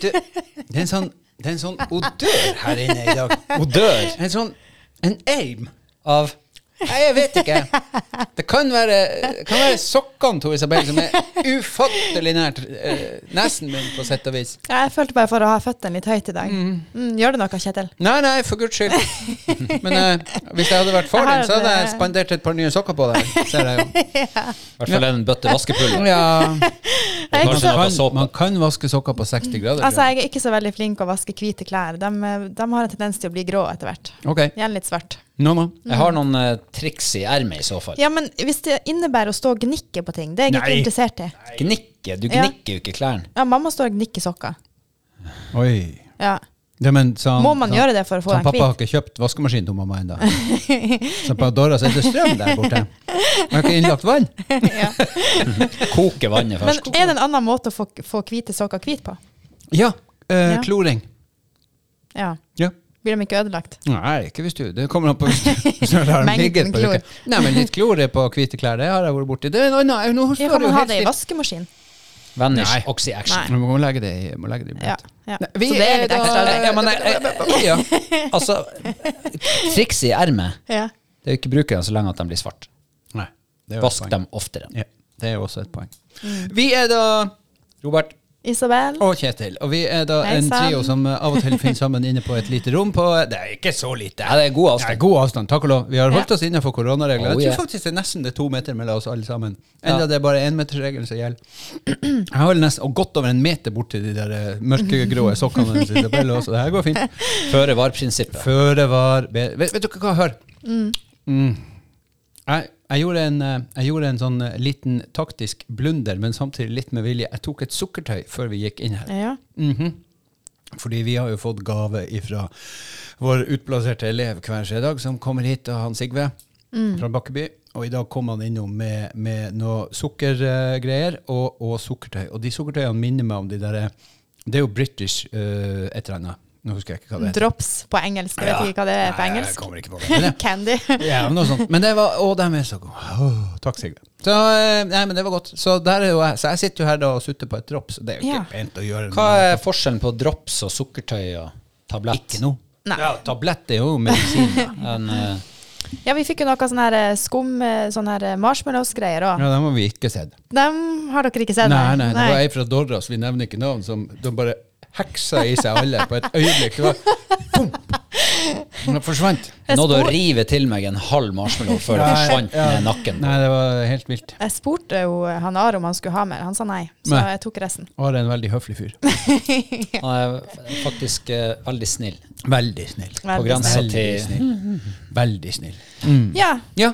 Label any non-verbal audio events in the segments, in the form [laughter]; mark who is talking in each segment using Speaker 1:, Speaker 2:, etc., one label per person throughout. Speaker 1: Du, det er en sånn, det er en sånn odør her inne i dag.
Speaker 2: Odør.
Speaker 1: En sånn en eim av Nei, jeg vet ikke. Det kan være, det kan være sokkene til Isabel som er ufattelig nært eh, nesen min, på sett og vis.
Speaker 3: Ja, Jeg følte bare for å ha føttene litt høyt i dag. Mm, gjør det noe, Kjetil?
Speaker 1: Nei, nei, for guds skyld. Men eh, hvis jeg hadde vært far din, så hadde jeg spandert et par nye sokker på deg. Ser jeg jo.
Speaker 2: I hvert fall en bøtte vaskepulver.
Speaker 1: Ja,
Speaker 3: Jeg er ikke
Speaker 2: Kanskje
Speaker 3: så,
Speaker 2: noe
Speaker 1: kan,
Speaker 2: såpe.
Speaker 1: man kan vaske sokker på 60 grader.
Speaker 3: altså,
Speaker 1: tror jeg.
Speaker 3: jeg er ikke så veldig flink å vaske hvite klær. De, eh, de har en tendens til å bli grå etter hvert.
Speaker 1: Ok.
Speaker 3: Gjerne litt svart.
Speaker 1: No, no.
Speaker 2: Jeg har noen eh, triks i ermet i så fall.
Speaker 3: Ja, men hvis det innebærer å stå og gnikke på ting, det er jeg
Speaker 2: Nei.
Speaker 3: ikke interessert i.
Speaker 2: Gnikke. Du
Speaker 3: Ja.
Speaker 2: gnikker jo ikke klærne.
Speaker 3: Ja, mamma står og gnikker sokker.
Speaker 1: Oi. [laughs]
Speaker 3: Ja.
Speaker 1: Ja, men, sa han-
Speaker 3: Må man
Speaker 1: sa-
Speaker 3: gjøre det for å få
Speaker 1: sa han,
Speaker 3: den
Speaker 1: Pappa har ikke kjøpt vaskemaskin til mamma ennå. Så på Dora så er det strøm der
Speaker 3: [laughs]
Speaker 1: borte. Man har ikke innlagt vann.
Speaker 2: Koke vannet
Speaker 3: Men
Speaker 2: først.
Speaker 3: er det en annen måte å få, få hvite sokker hvit på?
Speaker 1: Ja, eh,
Speaker 3: Ja.
Speaker 1: kloring.
Speaker 3: Ja.
Speaker 1: Ja.
Speaker 3: Blir de ikke ødelagt?
Speaker 1: Nei, ikke hvis du Det kommer an på hvis du,
Speaker 3: [laughs]
Speaker 1: hvis du har
Speaker 3: Mengden
Speaker 1: ligget på
Speaker 3: klor.
Speaker 1: uke. Nei, men litt klor er på hvite klær, det har jeg vært borti. Det er noe annet. Nå
Speaker 3: Ja,
Speaker 1: står du
Speaker 3: kan man
Speaker 1: jo
Speaker 3: ha
Speaker 1: helt
Speaker 3: det i
Speaker 1: stille.
Speaker 3: vaskemaskin?
Speaker 2: Vanish Oxy Action.
Speaker 3: Nei.
Speaker 1: Du må legge det i, må legge det i
Speaker 3: Ja.
Speaker 1: bløt.
Speaker 3: ja.
Speaker 1: Nei, vi
Speaker 3: Så det er litt
Speaker 1: da-
Speaker 3: ekstra arbeid.
Speaker 1: ja, men, eh, eh, ja.
Speaker 2: Altså, triks i ermet
Speaker 3: Ja.
Speaker 2: Det er jo ikke bruke dem så lenge at de blir svarte.
Speaker 1: Nei, det er jo sånn. et
Speaker 2: Vask
Speaker 1: poeng.
Speaker 2: dem oftere.
Speaker 1: Ja, det er jo også et poeng.
Speaker 3: Mm.
Speaker 1: Vi er da Robert
Speaker 3: Isabel?
Speaker 1: og Kjetil. Og vi er da
Speaker 3: Hei
Speaker 1: en
Speaker 3: sann.
Speaker 1: trio som eh, av og til finner sammen inne på et lite rom på Det er ikke så lite.
Speaker 2: Ja, det er god
Speaker 1: Nei,
Speaker 2: avstand.
Speaker 1: god avstand, takk og lov. Vi har holdt oss innenfor koronareglene.
Speaker 2: Oh,
Speaker 1: Jeg
Speaker 2: yeah.
Speaker 1: tror faktisk det er nesten det er to meter mellom oss alle sammen.
Speaker 2: Ja.
Speaker 1: Enda det er bare énmetersregelen som gjelder. Jeg har vel nesten og godt over en meter borti de der eh, mørkegrå sokkene hennes, Isabel, også. Det her går fint.
Speaker 2: Føre var-prinsippet.
Speaker 1: Føre var bedre. Vet, vet dere hva, hør. Mm. Jeg, jeg, gjorde en, eh, jeg gjorde en sånn eh, liten taktisk blunder, men samtidig litt med vilje. Jeg tok et sukkertøy før vi gikk inn her.
Speaker 3: Ja.
Speaker 1: Mhm. Fordi vi har jo fått gave ifra vår utplasserte elev hver seg dag, som kommer hit, og han Sigve fra Bakkeby. Og i dag kom han innom med, med noe sukkergreier og, og sukkertøy. Og de sukkertøyene minner meg om de derre Det er jo British eh, et eller annet. Nå husker jeg ikke hva det heter.
Speaker 3: Drops på engelsk. Jeg vet ikke hva det er på
Speaker 1: Nei, jeg
Speaker 3: engelsk.
Speaker 1: kommer ikke på det. Men, ja.
Speaker 3: [laughs] Candy.
Speaker 1: Ja, men noe sånt. Men det var Å, de er så gode. Åh, takk, Sigve. Så, eh, nei, men det var godt. Så, der er jo jeg. så jeg sitter jo her da og sutter på et drops. Det er jo ikke
Speaker 3: Ja.
Speaker 1: pent å gjøre
Speaker 2: Hva er forskjellen på drops og sukkertøy og tablett?
Speaker 1: Ikke noe.
Speaker 3: Nei.
Speaker 1: Ja, tablett er jo medisin. da.
Speaker 3: [laughs]
Speaker 2: En, eh,
Speaker 3: Ja, vi fikk jo noe sånn her eh, skum, eh, sånn her eh, marshmallows-greier òg.
Speaker 1: ja, den har vi ikke sett.
Speaker 3: Dem har dere ikke sett?
Speaker 1: Nei, nei, det var ei fra Dorras, vi nevner ikke navn, som de bare heksa i seg alle på et øyeblikk. Det var boom! Den forsvant.
Speaker 3: Jeg
Speaker 2: nådde å
Speaker 3: spor-
Speaker 2: rive til meg en halv marshmallow før
Speaker 1: [laughs]
Speaker 2: det
Speaker 1: Nei,
Speaker 2: forsvant
Speaker 1: ja.
Speaker 2: ned nakken.
Speaker 1: Nei, det var helt vilt.
Speaker 3: Jeg spurte jo eh, han Are om han skulle ha mer. Han sa nei, så
Speaker 1: Nei.
Speaker 3: jeg tok resten.
Speaker 1: Are er en veldig høflig
Speaker 3: [laughs]
Speaker 1: fyr.
Speaker 2: Han er faktisk eh, veldig snill.
Speaker 1: Veldig snill.
Speaker 2: På
Speaker 3: Veldig
Speaker 2: grensa
Speaker 3: snill.
Speaker 1: Veldig
Speaker 2: til
Speaker 1: snill. Veldig snill.
Speaker 3: Mm,
Speaker 1: Mm.
Speaker 3: Ja,
Speaker 1: Ja.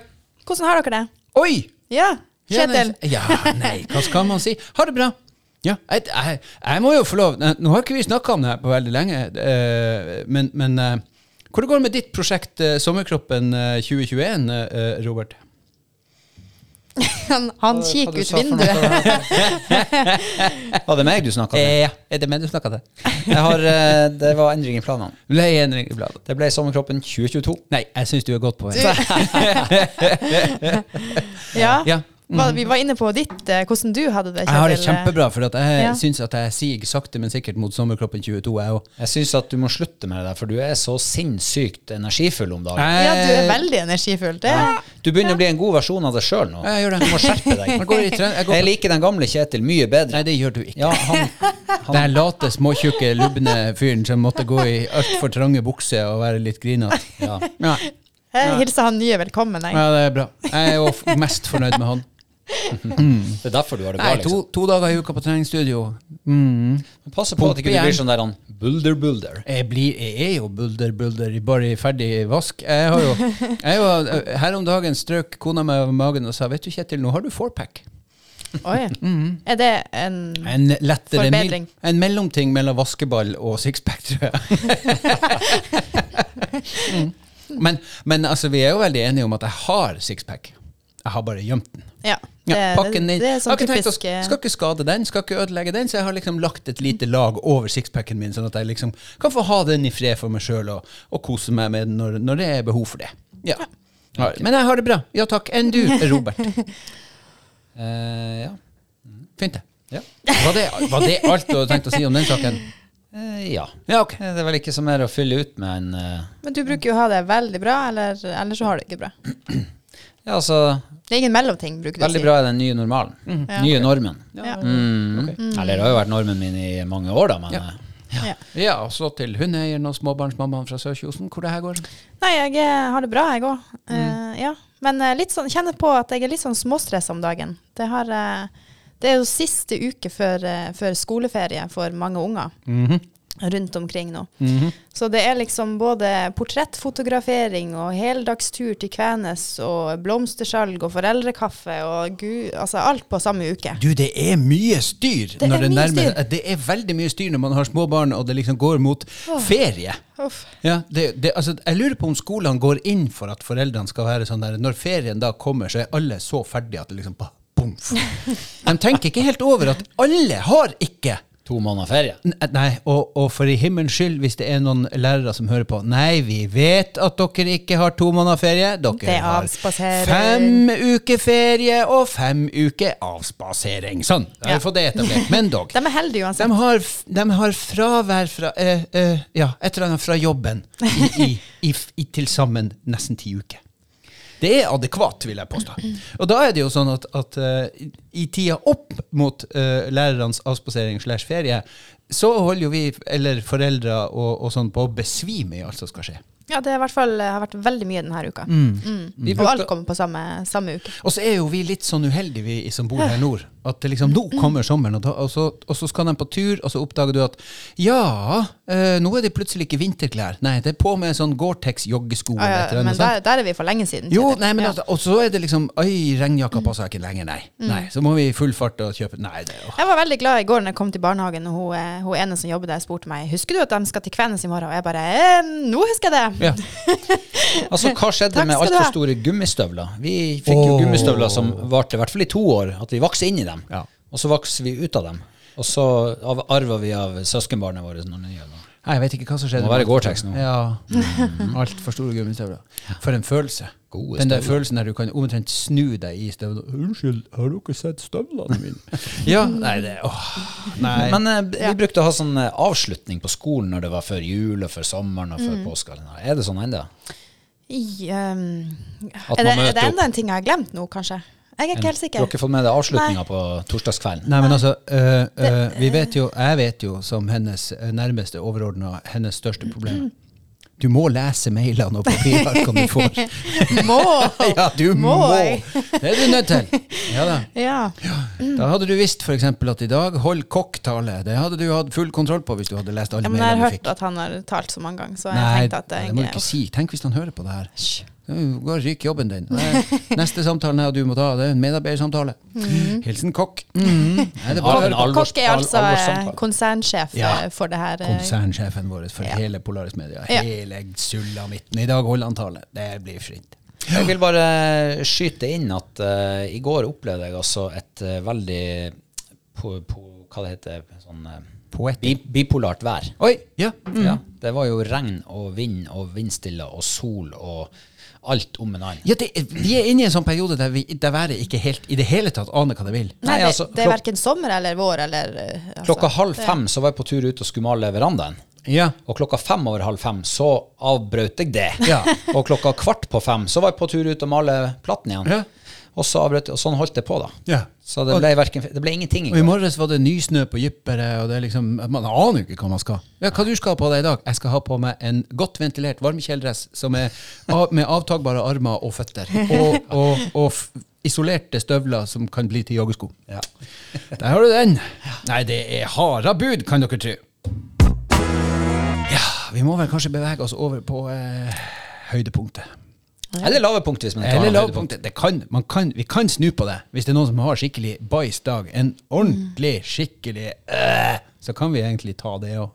Speaker 3: hvordan har dere det?
Speaker 1: Oi!
Speaker 3: Ja,
Speaker 1: Ja, [laughs]
Speaker 3: Kjetil.
Speaker 1: nei, Ja, nei, hva skal man si? Ha det bra. Ja, jeg, jeg, jeg må jo få lov Nei, Nå har ikke vi snakka om det her på veldig lenge, eh, men, men eh, hvor det går med ditt prosjekt eh, Sommerkroppen eh, 2021, eh, Robert?
Speaker 3: Han, han kikker ut vinduet.
Speaker 2: Var det meg du snakka til?
Speaker 1: Eh, ja, er det meg du snakka til?
Speaker 2: Jeg har, eh, [laughs] det var endring i planene.
Speaker 1: Leieendring i bladet.
Speaker 2: Det ble Sommerkroppen 2022.
Speaker 1: Nei, jeg syns du er godt på vei.
Speaker 3: Ja.
Speaker 1: Ja. Mm.
Speaker 3: Hva- Vi var inne på ditt, eh, hvordan du hadde det, Kjetil. eh,
Speaker 1: Jeg har det kjempebra, for at jeg
Speaker 3: Ja.
Speaker 1: syns at jeg siger sakte, men sikkert mot Sommerkroppen 22, jeg òg.
Speaker 2: Jeg syns at du må slutte med det der, for du er så sinnssykt energifull om dagen.
Speaker 3: Ja, du
Speaker 1: Eh,
Speaker 3: er veldig energifull. Det er
Speaker 2: Du begynner å bli en god versjon av deg sjøl nå.
Speaker 1: Ja, jeg gjør det.
Speaker 2: Du må skjerpe deg.
Speaker 1: Jeg går i tre- jeg går på-
Speaker 2: [laughs] Jeg liker den gamle Kjetil mye bedre.
Speaker 1: Nei, det gjør du ikke.
Speaker 2: Ja, han,
Speaker 1: Den her late, småtjukke, lubne fyren som måtte gå i altfor trange bukser og være litt grinete.
Speaker 2: ja.
Speaker 1: Ja.
Speaker 3: Jeg hilser han nye velkommen. Jeg.
Speaker 1: ja, det er bra. Jeg er jo f- mest fornøyd med han.
Speaker 2: [laughs] Det er derfor du har det
Speaker 1: Nei,
Speaker 2: bra.
Speaker 1: to,
Speaker 2: Liksom.
Speaker 1: to dager i uka på treningsstudio.
Speaker 2: Men Passe på at ikke du
Speaker 1: Pumpe
Speaker 2: blir
Speaker 1: igjen.
Speaker 2: sånn der han bulder-bulder.
Speaker 1: Jeg, blir, jeg er jo bulder-bulder, bare i ferdig vask. Jeg har jo, jeg var, her om dagen strøk kona meg over magen og sa Vet du, Kjetil, nå har du fourpack.
Speaker 3: Oi.
Speaker 1: Mm.
Speaker 3: Er det en
Speaker 1: En lettere
Speaker 3: Forbedring.
Speaker 1: mel- En mellomting mellom vaskeball og sixpack, tror jeg. mm. men, men altså, vi er jo veldig enige om at jeg har sixpack. Jeg har bare gjemt den.
Speaker 3: Ja,
Speaker 1: Ja,
Speaker 3: det,
Speaker 1: pakken
Speaker 3: det,
Speaker 1: din.
Speaker 3: det er
Speaker 1: jeg
Speaker 3: sånn
Speaker 1: har ikke tenkt å,
Speaker 3: typisk eh,
Speaker 1: skal ikke skade den, skal ikke ødelegge den, så jeg har liksom lagt et lite lag over sixpacken min, sånn at jeg liksom kan få ha den i fred for meg sjøl og, og kose meg med den når, når det er behov for det. Ja. Ja, Men jeg har det bra. Ja takk. Enn du, Robert?
Speaker 2: Eh, ja.
Speaker 1: Fint, det.
Speaker 2: Ja.
Speaker 1: Var det, var det alt du hadde tenkt å si om den saken?
Speaker 2: Eh, ja.
Speaker 1: Ja, ok.
Speaker 2: Eh, Det er vel ikke så mer å fylle ut med enn eh,
Speaker 3: Men du bruker jo å ha det veldig bra, eller, eller så har du det ikke bra.
Speaker 2: Ja, altså
Speaker 3: Det er ingen mellomting, bruker du å
Speaker 2: Veldig
Speaker 3: si.
Speaker 2: bra er den nye normalen.
Speaker 3: Ja.
Speaker 2: Nye normen.
Speaker 3: Ja.
Speaker 2: Mm. Eller det har jo vært normen min i mange år, da, men
Speaker 1: Ja.
Speaker 2: eh,
Speaker 3: Ja.
Speaker 1: Ja, og så til hundeeieren og småbarnsmammaen fra Sørkjosen, hvor det her går.
Speaker 3: Nei, jeg eh, har det bra, jeg òg. ja. Men eh, litt sånn, kjenner på at jeg er litt sånn småstressa om dagen. Det, har, eh, det er jo siste uke før, eh, før skoleferie for mange unger rundt omkring nå. Så det er liksom både portrettfotografering og heldagstur til Kvænes og blomstersalg og foreldrekaffe og gud, altså alt på samme uke.
Speaker 1: Du, det er mye styr!
Speaker 3: Det er
Speaker 1: når det,
Speaker 3: mye
Speaker 1: nærmer,
Speaker 3: styr.
Speaker 1: det er veldig mye styr når man har små barn og det liksom går mot ferie.
Speaker 3: Uff.
Speaker 1: Ja, det, det, altså, jeg lurer på om skolene går inn for at foreldrene skal være sånn der Når ferien da kommer, så er alle så ferdige at det liksom bare
Speaker 3: [laughs]
Speaker 1: bomf. De tenker ikke helt over at alle har ikke
Speaker 2: to måneder ferie.
Speaker 1: N- Nei, og, og for i himmelens skyld, hvis det er noen lærere som hører på Nei, vi vet at dere ikke har to måneder ferie. Dere
Speaker 3: Det
Speaker 1: har
Speaker 3: avspasering.
Speaker 1: fem uker ferie og fem uker avspasering. Sånn, da har
Speaker 3: Ja.
Speaker 1: vi fått det etablert. Men
Speaker 3: [laughs]
Speaker 1: dog.
Speaker 3: De er heldige uansett.
Speaker 1: De har, f- de har fravær fra eh, eh, Ja, et eller annet fra jobben i, i, i, f- i til sammen nesten ti uker. Det er adekvat, vil jeg påstå. Og da er det jo sånn at, at eh, i- i tida opp mot eh, lærernes avspasering slash ferie, så holder jo vi, eller foreldre og, og sånn, på å besvime i alt som skal skje.
Speaker 3: Ja, det er i hvert fall, eh, har vært veldig mye denne uka. Mm.
Speaker 1: Vi
Speaker 3: Og
Speaker 1: brukte-
Speaker 3: alt kommer på samme, samme uke.
Speaker 1: Og så er jo vi litt sånn uheldige, vi som bor her nord. At det liksom, nå
Speaker 3: Mm.
Speaker 1: kommer sommeren, og, da, og, så, og så skal de på tur, og så oppdager du at ja, eh, nå er det plutselig ikke vinterklær. Nei, det er på med sånn Gore-Tex-joggesko
Speaker 3: Ja,
Speaker 1: eller
Speaker 3: ja,
Speaker 1: et eller
Speaker 3: men
Speaker 1: annet. sånt.
Speaker 3: der, der er vi for lenge siden.
Speaker 1: Jo,
Speaker 3: Kjetil.
Speaker 1: nei, men
Speaker 3: Ja. Mm.
Speaker 1: altså, Og så er det liksom Oi, regnjakka passer ikke lenger, nei. nei. Så må vi i full fart og kjøpe Nei, det er jo
Speaker 3: Jeg var veldig glad i går når jeg kom til barnehagen, og hun, eh, hun ene som jobber der, spurte meg husker du at de skal til Kvenes i morgen. Og jeg bare eh, nå husker jeg det!
Speaker 1: ja.
Speaker 2: [laughs] Altså, Hva skjedde
Speaker 3: Takk
Speaker 2: med
Speaker 3: skal du
Speaker 2: altfor
Speaker 3: ha.
Speaker 2: store gummistøvler? Vi fikk jo
Speaker 1: Åh.
Speaker 2: gummistøvler som varte i hvert fall i to år, at vi vokste inn i dem.
Speaker 1: Ja.
Speaker 2: Og så vokste vi ut av dem. Og så av, arva vi av søskenbarnet vårt noen nye. da.
Speaker 1: Nei, Jeg vet ikke hva som skjedde.
Speaker 2: Må være
Speaker 1: med-
Speaker 2: Gore-Tex nå.
Speaker 1: Ja.
Speaker 3: [laughs]
Speaker 1: Altfor store gummistøvler. For en følelse.
Speaker 2: Gode
Speaker 1: Den der
Speaker 2: støvler.
Speaker 1: følelsen der du kan omtrent snu deg i støvlene. Unnskyld, har dere sett støvlene mine? [laughs] ja, nei, det åh, Nei.
Speaker 2: Men eh, vi brukte å ha sånn eh, avslutning på skolen når det var før jul og før sommeren og
Speaker 3: Mm.
Speaker 2: før påske. og den her. Er det sånn ennå?
Speaker 3: I, ehm,
Speaker 2: At
Speaker 3: er, det,
Speaker 2: man
Speaker 3: er det
Speaker 2: møter opp.
Speaker 3: enda en ting jeg har glemt nå, kanskje? Jeg er ikke helt
Speaker 2: Du har
Speaker 3: sikker.
Speaker 2: ikke fått med deg avslutninga på torsdagskvelden?
Speaker 1: Nei, men altså, øh, øh, vi vet jo, jeg vet jo som hennes øh, nærmeste overordna hennes største problem. Du må lese mailene og papirarkene du
Speaker 3: [laughs]
Speaker 1: får. [laughs]
Speaker 3: Må!
Speaker 1: Ja, du må!
Speaker 3: Må jeg? Mm.
Speaker 1: Det er du nødt til. Ja da.
Speaker 3: Ja.
Speaker 1: Da hadde du visst f.eks. at i dag hold kokktale. Det hadde du hatt full kontroll på hvis du hadde lest alle
Speaker 3: ja, men jeg har
Speaker 1: mailene du
Speaker 3: hørt
Speaker 1: fikk.
Speaker 3: at han har talt så mange ganger, så jeg
Speaker 1: Nei,
Speaker 3: tenkte at
Speaker 1: det
Speaker 3: jeg,
Speaker 1: må du ikke si. Tenk hvis han hører på det her.
Speaker 3: Hysj.
Speaker 1: Gå og ryk jobben din. Nei, Neste samtalen her du må ta, det er en medarbeidersamtale. Hilsen kokk. Mhm. Nei, det er bare å
Speaker 2: Al-
Speaker 1: høre på.
Speaker 2: alvors-
Speaker 3: Kokk er
Speaker 2: al-
Speaker 3: altså eh,
Speaker 2: alvorssamtale.
Speaker 3: konsernsjef eh,
Speaker 1: Ja.
Speaker 3: for det her. eh,
Speaker 1: Konsernsjefen vår for
Speaker 3: Ja.
Speaker 1: hele Polaris Media.
Speaker 3: Ja.
Speaker 1: Hele sulamitten. I dag holder han tale. Det blir fint.
Speaker 2: Jeg vil bare eh, skyte inn at eh, i går opplevde jeg altså et eh, veldig på, på, Hva det heter sånn, eh, bi, Bipolart vær.
Speaker 1: Oi! Ja.
Speaker 2: Ja,
Speaker 3: Mm.
Speaker 2: det var jo regn og vind og vindstille og sol og alt om en annen.
Speaker 1: ja det, vi er inne i en sånn periode der, vi, der været ikke helt i det hele tatt aner hva det vil.
Speaker 3: Nei,
Speaker 2: Nei,
Speaker 3: det,
Speaker 2: altså,
Speaker 3: det er
Speaker 2: klok-
Speaker 3: verken sommer eller vår eller eh, altså,
Speaker 2: Klokka halv
Speaker 3: det-
Speaker 2: fem så var jeg på tur ut og skulle male verandaen.
Speaker 1: Ja.
Speaker 2: Og klokka fem over halv fem så avbrøt jeg det.
Speaker 1: Ja.
Speaker 2: Og klokka kvart på fem så var jeg på tur ut og male platen igjen.
Speaker 1: Ja.
Speaker 2: Og så avbrøt jeg, og sånn holdt det på, da.
Speaker 1: Ja.
Speaker 2: Så det ble, hverken, det ble ingenting. i
Speaker 1: Og I
Speaker 2: går.
Speaker 1: morges var det nysnø på Jypperet, og det er liksom, man aner jo ikke hva man skal. Ja, Hva du skal ha på deg i dag? Jeg skal ha på meg en godt ventilert varmekjeledress som er av, med avtagbare armer og føtter. Og, og, og f isolerte støvler som kan bli til joggesko.
Speaker 2: Ja.
Speaker 1: Der har du den. Nei, det er harde bud, kan dere tro. Ja, vi må vel kanskje bevege oss over på eh, høydepunktet.
Speaker 2: Eller lave punkt, hvis man ikke
Speaker 1: Eller
Speaker 2: har noe høydepunkt.
Speaker 1: lavpunktet. Det kan, man kan, vi kan snu på det. Hvis det er noen som har skikkelig bæsj-dag, en ordentlig, skikkelig øh, Så kan vi egentlig ta det òg.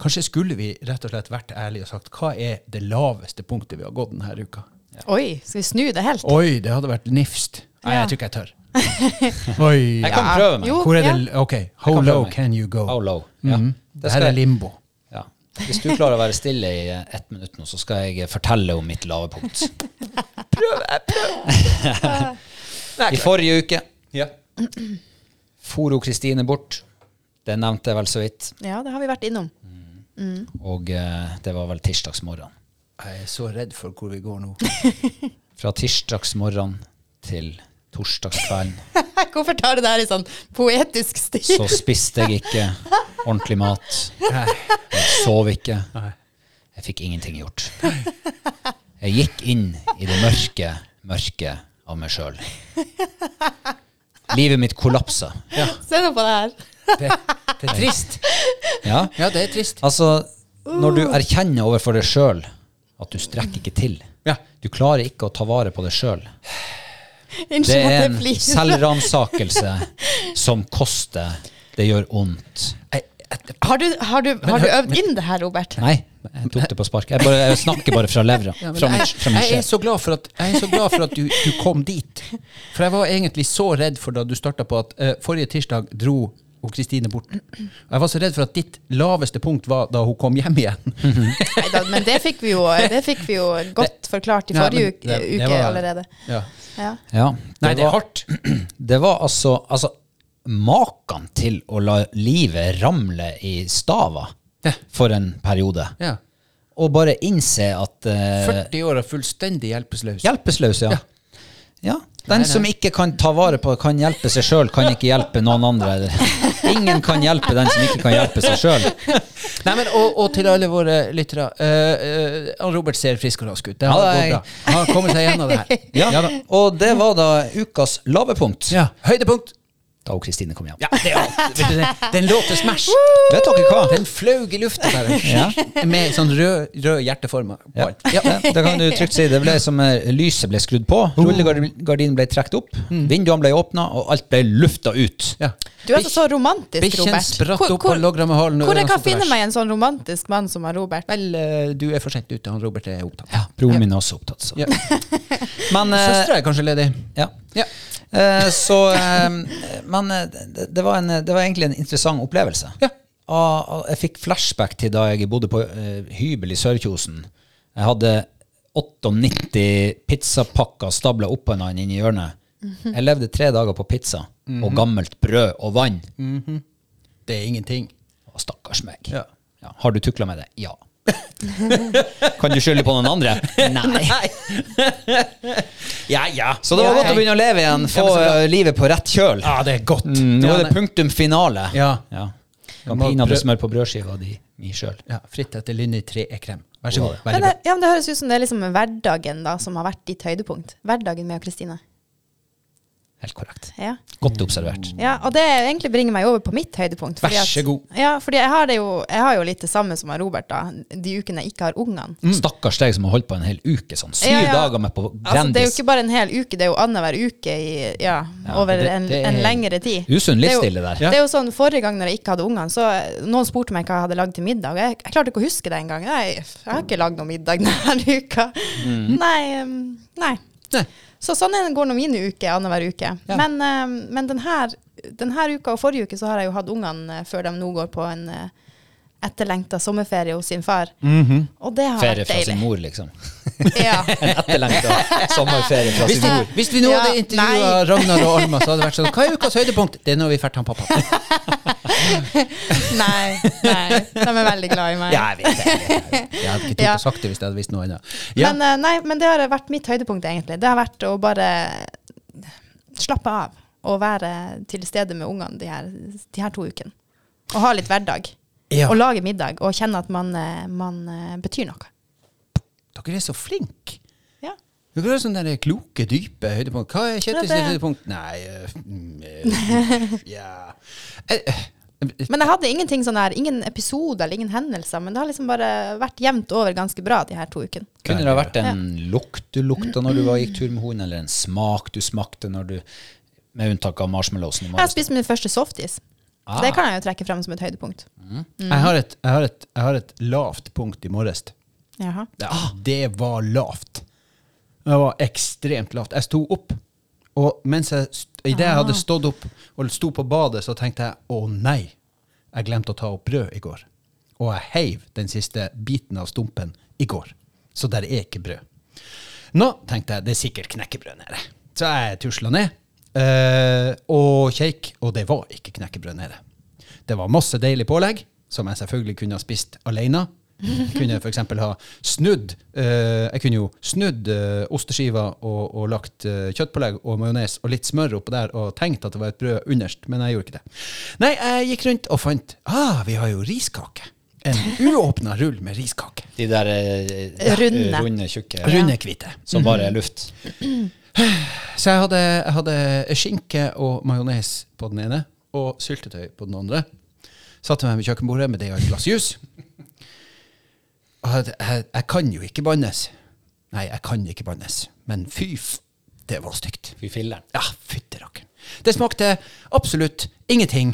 Speaker 1: Kanskje skulle vi rett og slett vært ærlige og sagt hva er det laveste punktet vi har gått denne uka?
Speaker 3: Oi, skal vi snu det helt?
Speaker 1: Oi, det hadde vært nifst. Nei,
Speaker 3: Ja. [laughs]
Speaker 1: jeg tror ikke jeg tør. Oi.
Speaker 2: Jeg kan prøve meg.
Speaker 3: Jo,
Speaker 1: Hvor er
Speaker 3: ja.
Speaker 1: det OK.
Speaker 2: Jeg
Speaker 1: How
Speaker 2: kan
Speaker 1: low
Speaker 2: prøve meg.
Speaker 1: can you go?
Speaker 2: How low. Ja.
Speaker 1: Mhm.
Speaker 2: Det
Speaker 1: Det
Speaker 2: skal
Speaker 1: her er
Speaker 2: jeg-
Speaker 1: limbo.
Speaker 2: Ja. Hvis du klarer å være stille i eh, ett minutt nå, så skal jeg eh, fortelle om mitt lave punkt. I forrige uke for jo Kristine bort. Det nevnte jeg vel så vidt.
Speaker 3: Ja, det har vi vært innom. [laughs] Mm.
Speaker 2: Og eh, det var vel tirsdagsmorgen.
Speaker 1: Jeg er så redd for hvor vi
Speaker 2: [laughs]
Speaker 1: går nå.
Speaker 2: Fra tirsdagsmorgen til torsdagskvelden
Speaker 3: Hvorfor tar du det her i sånn poetisk stil?
Speaker 2: så spiste jeg ikke ordentlig mat. Jeg sov ikke. Jeg fikk ingenting gjort. Jeg gikk inn i det mørke, mørke av meg sjøl. Livet mitt kollapsa.
Speaker 3: [laughs] Se nå på det her.
Speaker 1: Det, det er trist.
Speaker 2: Ja.
Speaker 1: Ja, det er trist.
Speaker 2: Altså, når du erkjenner overfor deg sjøl at du strekker ikke til
Speaker 1: Ja.
Speaker 2: Du klarer ikke å ta vare på deg sjøl. Det
Speaker 3: Unnskyld
Speaker 2: er
Speaker 3: at jeg
Speaker 2: en
Speaker 3: flirer.
Speaker 2: selvransakelse som koster. Det gjør vondt.
Speaker 3: Har du, har, du, har du øvd inn det her, Robert?
Speaker 2: Nei, jeg tok det på sparket. Jeg, bare, jeg snakker bare fra levra.
Speaker 1: Ja, men
Speaker 2: Fra min,
Speaker 1: jeg,
Speaker 2: fra min
Speaker 1: jeg er
Speaker 2: sjel.
Speaker 1: så glad for at, jeg er så glad for at du, du kom dit. For jeg var egentlig så redd for da du starta på at eh, forrige tirsdag dro hun Kristine bort. Og jeg var så redd for at ditt laveste punkt var da hun kom hjem igjen.
Speaker 3: Neida, men det fikk vi jo, eh, det fikk vi jo
Speaker 1: [laughs]
Speaker 3: godt forklart i forrige uke,
Speaker 1: Nei, men det- det
Speaker 3: uke
Speaker 1: var-
Speaker 3: allerede.
Speaker 1: Ja.
Speaker 3: Ja.
Speaker 2: Ja,
Speaker 1: Nei, det er hardt.
Speaker 2: [clears throat] Det var altså, altså Maken til å la livet ramle i staver
Speaker 1: Ja.
Speaker 2: for en periode.
Speaker 1: Ja.
Speaker 2: Og bare innse at eh,
Speaker 1: 40 år og fullstendig hjelpeløs.
Speaker 2: Hjelpeløs, ja. ja. Den
Speaker 1: nei.
Speaker 2: som ikke kan ta vare på, kan hjelpe seg sjøl, kan ikke hjelpe noen
Speaker 1: [laughs]
Speaker 2: andre. Ingen kan hjelpe den som ikke kan hjelpe seg sjøl.
Speaker 1: Nei, men, og, og til alle våre lyttere. eh, eh, Han Robert ser frisk og rask ut. Det har
Speaker 2: Ja,
Speaker 1: gått
Speaker 2: jeg-
Speaker 1: bra. Han har kommet seg gjennom [laughs] det her.
Speaker 2: Ja.
Speaker 1: Ja da.
Speaker 2: Og det var da ukas lavepunkt.
Speaker 1: Ja. Høydepunkt.
Speaker 2: Da hun Kristine kom hjem.
Speaker 1: Ja, det er alt. [laughs] Vet du det? Den låter Smash.
Speaker 2: Vet dere hva?
Speaker 1: Den fløy i lufta bare.
Speaker 2: [laughs] Ja.
Speaker 1: Med sånn rød, rød hjerteforma.
Speaker 2: Ja.
Speaker 1: Ja.
Speaker 2: Ja, det kan du trygt si. Det ble som eh, lyset ble skrudd på, rullegardinen ble trukket opp, vinduene ble åpna, og alt ble lufta ut.
Speaker 1: Ja.
Speaker 3: Du er altså så romantisk,
Speaker 1: Bikkjen
Speaker 3: Robert.
Speaker 1: spratt opp og logret med halen, og
Speaker 3: Hvor jeg
Speaker 1: øynene
Speaker 3: kan
Speaker 1: satt
Speaker 3: finne
Speaker 1: vers.
Speaker 3: meg en sånn romantisk mann som har Robert?
Speaker 1: Vel, eh, du er for sent ute. Han Robert er opptatt.
Speaker 2: Ja, Broren min er også opptatt. Så.
Speaker 1: Ja.
Speaker 2: Men eh,
Speaker 1: Søstera er kanskje ledig.
Speaker 2: ja.
Speaker 1: Ja.
Speaker 2: Eh, så eh, Men eh, det, det, var en, det var egentlig en interessant opplevelse.
Speaker 1: Ja.
Speaker 2: Og- og jeg fikk flashback til da jeg bodde på eh, hybel i Sørkjosen. Jeg hadde 98 pizzapakker stabla oppå hverandre inni hjørnet. Jeg levde tre dager på pizza og gammelt brød og vann.
Speaker 1: Det er ingenting.
Speaker 2: Og stakkars meg.
Speaker 1: Ja.
Speaker 2: Mhm. Ja. Har du tukla med det? Ja. kan du skylde på noen andre? [laughs] Nei.
Speaker 1: Ja, ja.
Speaker 2: Så det var godt å begynne å leve igjen, få eh, livet på rett kjøl.
Speaker 1: Ja, Ah, det er godt.
Speaker 2: Mm, nå er
Speaker 1: Ja,
Speaker 2: det punktum finale.
Speaker 1: Ja.
Speaker 2: ja.
Speaker 1: Jeg
Speaker 2: Kan
Speaker 1: må
Speaker 2: pinadø
Speaker 1: prøv-
Speaker 2: smøre på brødskiva di mi sjøl.
Speaker 1: Ja, fritt etter Lynni 3E-krem. Vær så god.
Speaker 3: Men
Speaker 1: Veldig
Speaker 3: det,
Speaker 1: bra.
Speaker 3: ja, men det høres ut som det er liksom hverdagen da, som har vært ditt høydepunkt. Hverdagen med Kristine.
Speaker 2: Helt korrekt.
Speaker 3: Ja.
Speaker 2: Godt observert.
Speaker 3: ja, og det egentlig bringer meg over på mitt høydepunkt. fordi
Speaker 1: Vær
Speaker 3: at-
Speaker 1: så god.
Speaker 3: Ja, fordi jeg har, det jo, jeg har jo litt det samme som har Robert da, de ukene jeg ikke har ungene.
Speaker 1: Mm.
Speaker 2: Stakkars deg som har holdt på en hel uke sånn. Syv
Speaker 3: Ja, ja.
Speaker 2: dager med på
Speaker 3: Altså, det er jo
Speaker 2: Grandis.
Speaker 3: ikke bare en hel uke, det er jo annenhver uke i, ja, over
Speaker 1: det-
Speaker 3: en,
Speaker 1: det er-
Speaker 3: en lengre tid.
Speaker 2: Usunn
Speaker 3: Det er jo-
Speaker 2: livsstil, det der.
Speaker 1: Ja.
Speaker 3: Det er jo sånn, Forrige gang når jeg ikke hadde ungene, så noen spurte meg hva jeg hadde lagd til middag. Jeg, jeg klarte ikke å huske det engang. Nei, Jeg har ikke lagd noe middag [laughs] denne uka.
Speaker 1: Mm.
Speaker 3: Nei, um, nei.
Speaker 1: Nei.
Speaker 3: Så sånn er det går nå mine uker annenhver uke. Men, eh, men denne, denne uka og forrige uke så har jeg jo hatt ungene eh, før de nå går på en eh, etterlengta sommerferie hos sin far. Og det har
Speaker 2: Mhm. Ferie
Speaker 3: vært
Speaker 2: fra sin
Speaker 3: deilig.
Speaker 2: mor, liksom.
Speaker 3: Ja.
Speaker 2: [laughs] En etterlengta
Speaker 3: [laughs]
Speaker 2: sommerferie fra
Speaker 1: Hvis,
Speaker 2: sin mor.
Speaker 1: vi- hvis vi nå
Speaker 3: Ja,
Speaker 1: hadde intervjua
Speaker 3: nei.
Speaker 1: Ragnar og Alma, så hadde det vært sånn Hva er ukas høydepunkt? Det er når vi drar til han pappa.
Speaker 3: [laughs] Nei, nei. De er veldig glad i meg.
Speaker 2: Ja, jeg vet det.
Speaker 1: Jeg hadde ikke turt
Speaker 3: Ja.
Speaker 1: å sagt det hvis jeg hadde visst noe annet. Ja.
Speaker 3: Men, eh, nei, men det har vært mitt høydepunkt, egentlig. Det har vært å bare slappe av og være til stede med ungene de her, de her to ukene. Og ha litt hverdag.
Speaker 1: Ja.
Speaker 3: Og lage middag. Og kjenne at man, eh, man eh, betyr noe.
Speaker 1: Dere er så flinke.
Speaker 3: Ja.
Speaker 1: Du kan ha sånne der kloke, dype høydepunkt. Hva er Kjetil
Speaker 3: Ja,
Speaker 1: sitt
Speaker 3: det-
Speaker 1: høydepunkt? Nei øh,
Speaker 3: [laughs]
Speaker 1: mm, øh, Ja Eh, eh,
Speaker 3: Men jeg hadde ingenting sånn her, ingen episoder eller ingen hendelser. Men det har liksom bare vært jevnt over ganske bra de her to ukene.
Speaker 2: Kunne det ha vært en lukt du lukta når du var, gikk tur med hunden, eller en smak du smakte når du Med unntak av marshmallowsen i
Speaker 3: Jeg har
Speaker 2: morges.
Speaker 3: spist min første softis.
Speaker 2: Ah.
Speaker 3: Det kan jeg jo trekke frem som et høydepunkt.
Speaker 1: Jeg har et, jeg har et, jeg har et lavt punkt i morges.
Speaker 3: Jaha.
Speaker 1: Ja, Ah, det var lavt. Det var ekstremt lavt. Jeg sto opp, og mens jeg st- Idet jeg hadde stått opp og sto på badet, så tenkte jeg å nei, jeg glemte å ta opp brød i går. Og jeg heiv den siste biten av stumpen i går. Så der er ikke brød. Nå tenkte jeg det er sikkert knekkebrød nede. Så jeg tusla ned eh, og kjeik, og det var ikke knekkebrød nede. Det var masse deilig pålegg, som jeg selvfølgelig kunne ha spist alene. Jeg kunne f.eks. ha snudd eh, Jeg kunne jo snudd eh, osteskiver og, og lagt eh, kjøttpålegg og majones og litt smør oppå der og tenkt at det var et brød underst, men jeg gjorde ikke det. Nei, jeg gikk rundt og fant Ah, vi har jo riskake. En uåpna rull med riskake.
Speaker 2: De der eh,
Speaker 3: Runde.
Speaker 2: runde tjukke
Speaker 1: Runde, hvite.
Speaker 2: som bare er luft.
Speaker 1: Så jeg hadde, jeg hadde skinke og majones på den ene, og syltetøy på den andre. Satte meg ved kjøkkenbordet med det og et glass jus. Og jeg, jeg, jeg kan jo ikke bannes. Nei, jeg kan ikke bannes. Men fy f... Det var stygt.
Speaker 2: Fy filleren.
Speaker 1: Ja, fytterakken. Det smakte absolutt ingenting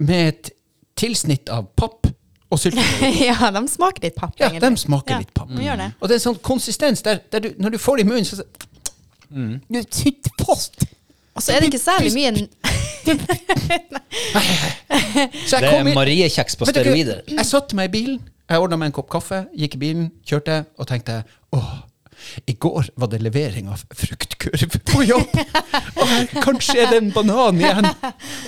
Speaker 1: med et tilsnitt av papp og
Speaker 3: [laughs]
Speaker 1: syltetøy.
Speaker 3: [laughs] ja, de smaker litt papp,
Speaker 1: Ja, de
Speaker 3: egentlig.
Speaker 1: smaker
Speaker 3: Ja,
Speaker 1: litt papp.
Speaker 3: de gjør det.
Speaker 1: Og det er en sånn konsistens der, der du, når du får det i munnen, så Du sitter fast.
Speaker 3: Og så Altså, er det ikke særlig mye
Speaker 1: Så
Speaker 2: Det
Speaker 1: jeg kom
Speaker 2: er
Speaker 1: inn
Speaker 2: Marie-kjeks på
Speaker 1: Vet dere,
Speaker 2: steroider.
Speaker 1: Jeg satt meg i bilen, jeg ordna meg en kopp kaffe, gikk i bilen, kjørte og tenkte åh, i går var det levering av fruktkurv på jobb! Og kanskje er det en banan igjen!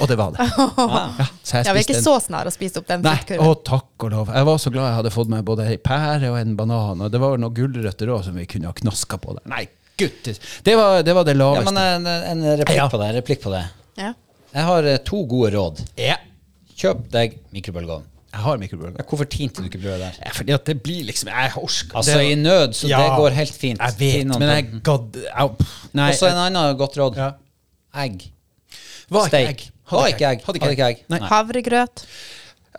Speaker 1: Og det var
Speaker 3: [laughs]
Speaker 1: det. [laughs] Ja, så
Speaker 3: Ja, vi er ikke
Speaker 1: en-
Speaker 3: så snar å spise opp den
Speaker 1: Nei,
Speaker 3: fruktkurven.
Speaker 1: å takk og lov. Jeg var så glad jeg hadde fått meg både ei pære og en banan, og det var noen gulrøtter òg som vi kunne ha knaska på der. Nei, gutter! Det var det, var det
Speaker 2: Ja,
Speaker 1: laveste.
Speaker 2: men en, en replikk på det. En replikk på det.
Speaker 3: Ja.
Speaker 2: Jeg har eh, to gode råd.
Speaker 1: Ja,
Speaker 2: Kjøp deg mikrobølgeovn.
Speaker 1: jeg har mikrobølger.
Speaker 2: Ja, Hvorfor tinte du ikke brødet der?
Speaker 1: Ja, fordi at det blir liksom Jeg orker
Speaker 2: Altså, i nød, så det går helt fint.
Speaker 1: Jeg vet,
Speaker 2: Finn noen
Speaker 1: men
Speaker 2: på
Speaker 1: jeg
Speaker 2: den.
Speaker 1: gadd au, pff, Nei.
Speaker 2: Og så en annen godt råd.
Speaker 1: Ja.
Speaker 2: Egg.
Speaker 1: Var ikke
Speaker 2: Steak.
Speaker 1: egg.
Speaker 2: Var ikke egg.
Speaker 1: Hadde
Speaker 2: Hadde
Speaker 1: ikke egg.
Speaker 2: ikke egg.
Speaker 1: Nei.
Speaker 3: Havregrøt.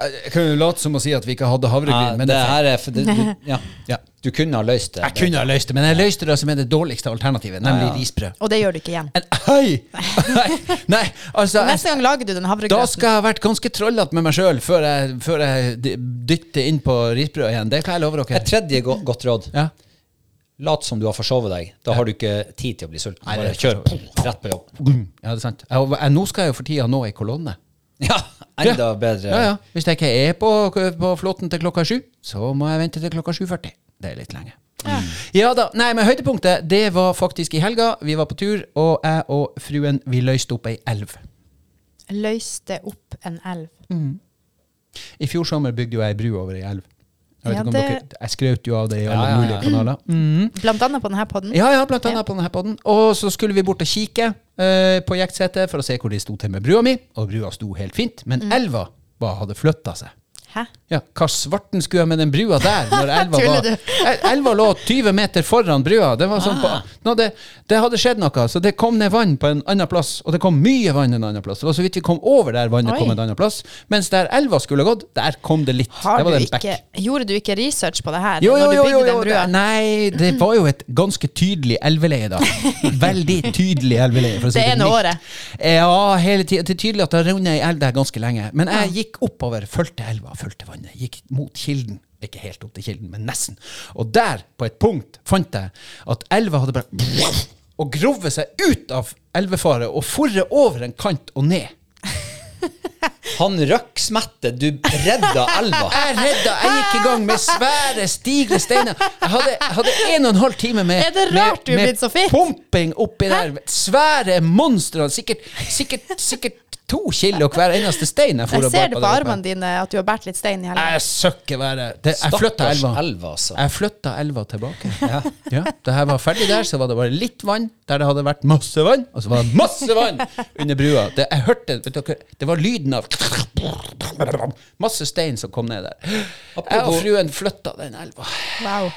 Speaker 1: Jeg kan jo late som å si at vi ikke hadde havregryn,
Speaker 2: Ja,
Speaker 1: men
Speaker 2: det her er for, det, du, ja.
Speaker 1: Ja.
Speaker 2: du kunne ha løst det.
Speaker 1: Jeg kunne ha løst det, men jeg løste det som er det dårligste alternativet, nemlig
Speaker 2: Ja, ja.
Speaker 1: risbrød.
Speaker 3: Og det gjør du ikke igjen.
Speaker 1: En, hei! [laughs] Nei, nei, altså jeg,
Speaker 3: Neste gang lager du den
Speaker 1: Da
Speaker 3: havregrøten.
Speaker 1: skal jeg ha vært ganske trollete med meg sjøl før, jeg- før jeg d- dytter inn på risbrød igjen. Det kan jeg love dere.
Speaker 2: Et tredje go godt råd.
Speaker 1: Ja.
Speaker 2: Lat som du har forsovet deg. Da har du ikke tid til å bli sulten.
Speaker 1: Nei,
Speaker 2: Bare
Speaker 1: det er
Speaker 2: kjør
Speaker 1: for så
Speaker 2: rett på jobb.
Speaker 1: Mm. ja, det er sant. Jeg, jeg, nå skal jeg jo for tida nå i kolonne.
Speaker 2: Ja, enda bedre.
Speaker 1: Ja, ja. Hvis jeg ikke er på, på flåten til klokka sju, så må jeg vente til klokka 7.40. Det er litt lenge. Ja. da, nei, men Høydepunktet det var faktisk i helga. Vi var på tur, og jeg og fruen vi løste opp ei elv.
Speaker 3: Løste opp en elv.
Speaker 1: I fjor sommer bygde jo jeg ei bru over ei elv. Jeg, vet
Speaker 3: Ja,
Speaker 1: ikke om
Speaker 3: det-
Speaker 1: dere, jeg skrøt jo av det i alle
Speaker 2: Ja, ja, ja.
Speaker 1: mulige kanaler. Mhm.
Speaker 3: Blant annet på denne podden.
Speaker 1: Ja, ja, blant annet på denne podden. Og så skulle vi bort og kikke eh, på jektsetet for å se hvor de sto til med brua mi. Og brua sto helt fint, men elva bare hadde flytta seg.
Speaker 3: Hæ?
Speaker 1: Ja, Hva svarten skulle jeg med den brua der?
Speaker 3: [laughs]
Speaker 1: Når elva,
Speaker 3: Tuller
Speaker 1: var,
Speaker 3: du? Ah.
Speaker 1: El- elva lå 20 meter foran brua. Det, var sånn på, nå, det, det hadde skjedd noe, så det kom ned vann på en annen plass. Og det kom mye vann en annen plass. Det var så vidt vi kom over der vannet
Speaker 3: Oi.
Speaker 1: kom en annen plass. Mens der elva skulle gått, der kom det litt.
Speaker 3: Har
Speaker 1: det var
Speaker 3: du
Speaker 1: det en bekk.
Speaker 3: ikke, gjorde du ikke research på det her
Speaker 1: Jo, jo,
Speaker 3: når du
Speaker 1: jo,
Speaker 3: bygde
Speaker 1: jo, jo.
Speaker 3: den brua?
Speaker 1: det- Nei, det var jo et ganske tydelig elveleie, da. Veldig tydelig elveleie. For å si
Speaker 3: Det ene
Speaker 1: mildt.
Speaker 3: året.
Speaker 1: Ja, hele tida. Det er tydelig at det har rundet ei elv der ganske lenge. Men jeg gikk oppover, fulgte elva, fulgte vannet. Gikk mot kilden. Ikke helt opp til kilden, men nesten. Og der, på et punkt, fant jeg at elva hadde bare Og grove seg ut av elvefaret og forre over en kant og ned.
Speaker 2: Han røkk smette, du redda elva.
Speaker 1: Jeg redda, jeg gikk i gang med svære, stigende steiner. Jeg hadde, jeg hadde en og en halv time med,
Speaker 3: Er det rart du er blitt så
Speaker 1: med, med
Speaker 3: fit?
Speaker 1: pumping oppi der. Svære monstre. Sikkert, sikkert, sikkert to kilo hver eneste stein. Jeg, for
Speaker 3: Jeg
Speaker 1: og
Speaker 3: ser
Speaker 1: bar
Speaker 3: det
Speaker 1: på
Speaker 3: på
Speaker 1: der oppe.
Speaker 3: armene dine at du har båret litt stein i helga.
Speaker 1: Jeg søkker været. Det- [laughs] Jeg flytta
Speaker 2: Stakkars
Speaker 1: elva.
Speaker 2: elva, altså.
Speaker 1: Jeg flytta elva
Speaker 2: [laughs]
Speaker 1: tilbake. Ja. Da jeg var ferdig der, så var det bare litt vann der det hadde vært masse vann. Og så var det masse vann under brua. Det, jeg hørte, vet dere, det var lyden av Masse stein som kom ned der. Jeg og
Speaker 2: Apropos- Mm.
Speaker 1: fruen flytta den elva.
Speaker 3: Wow.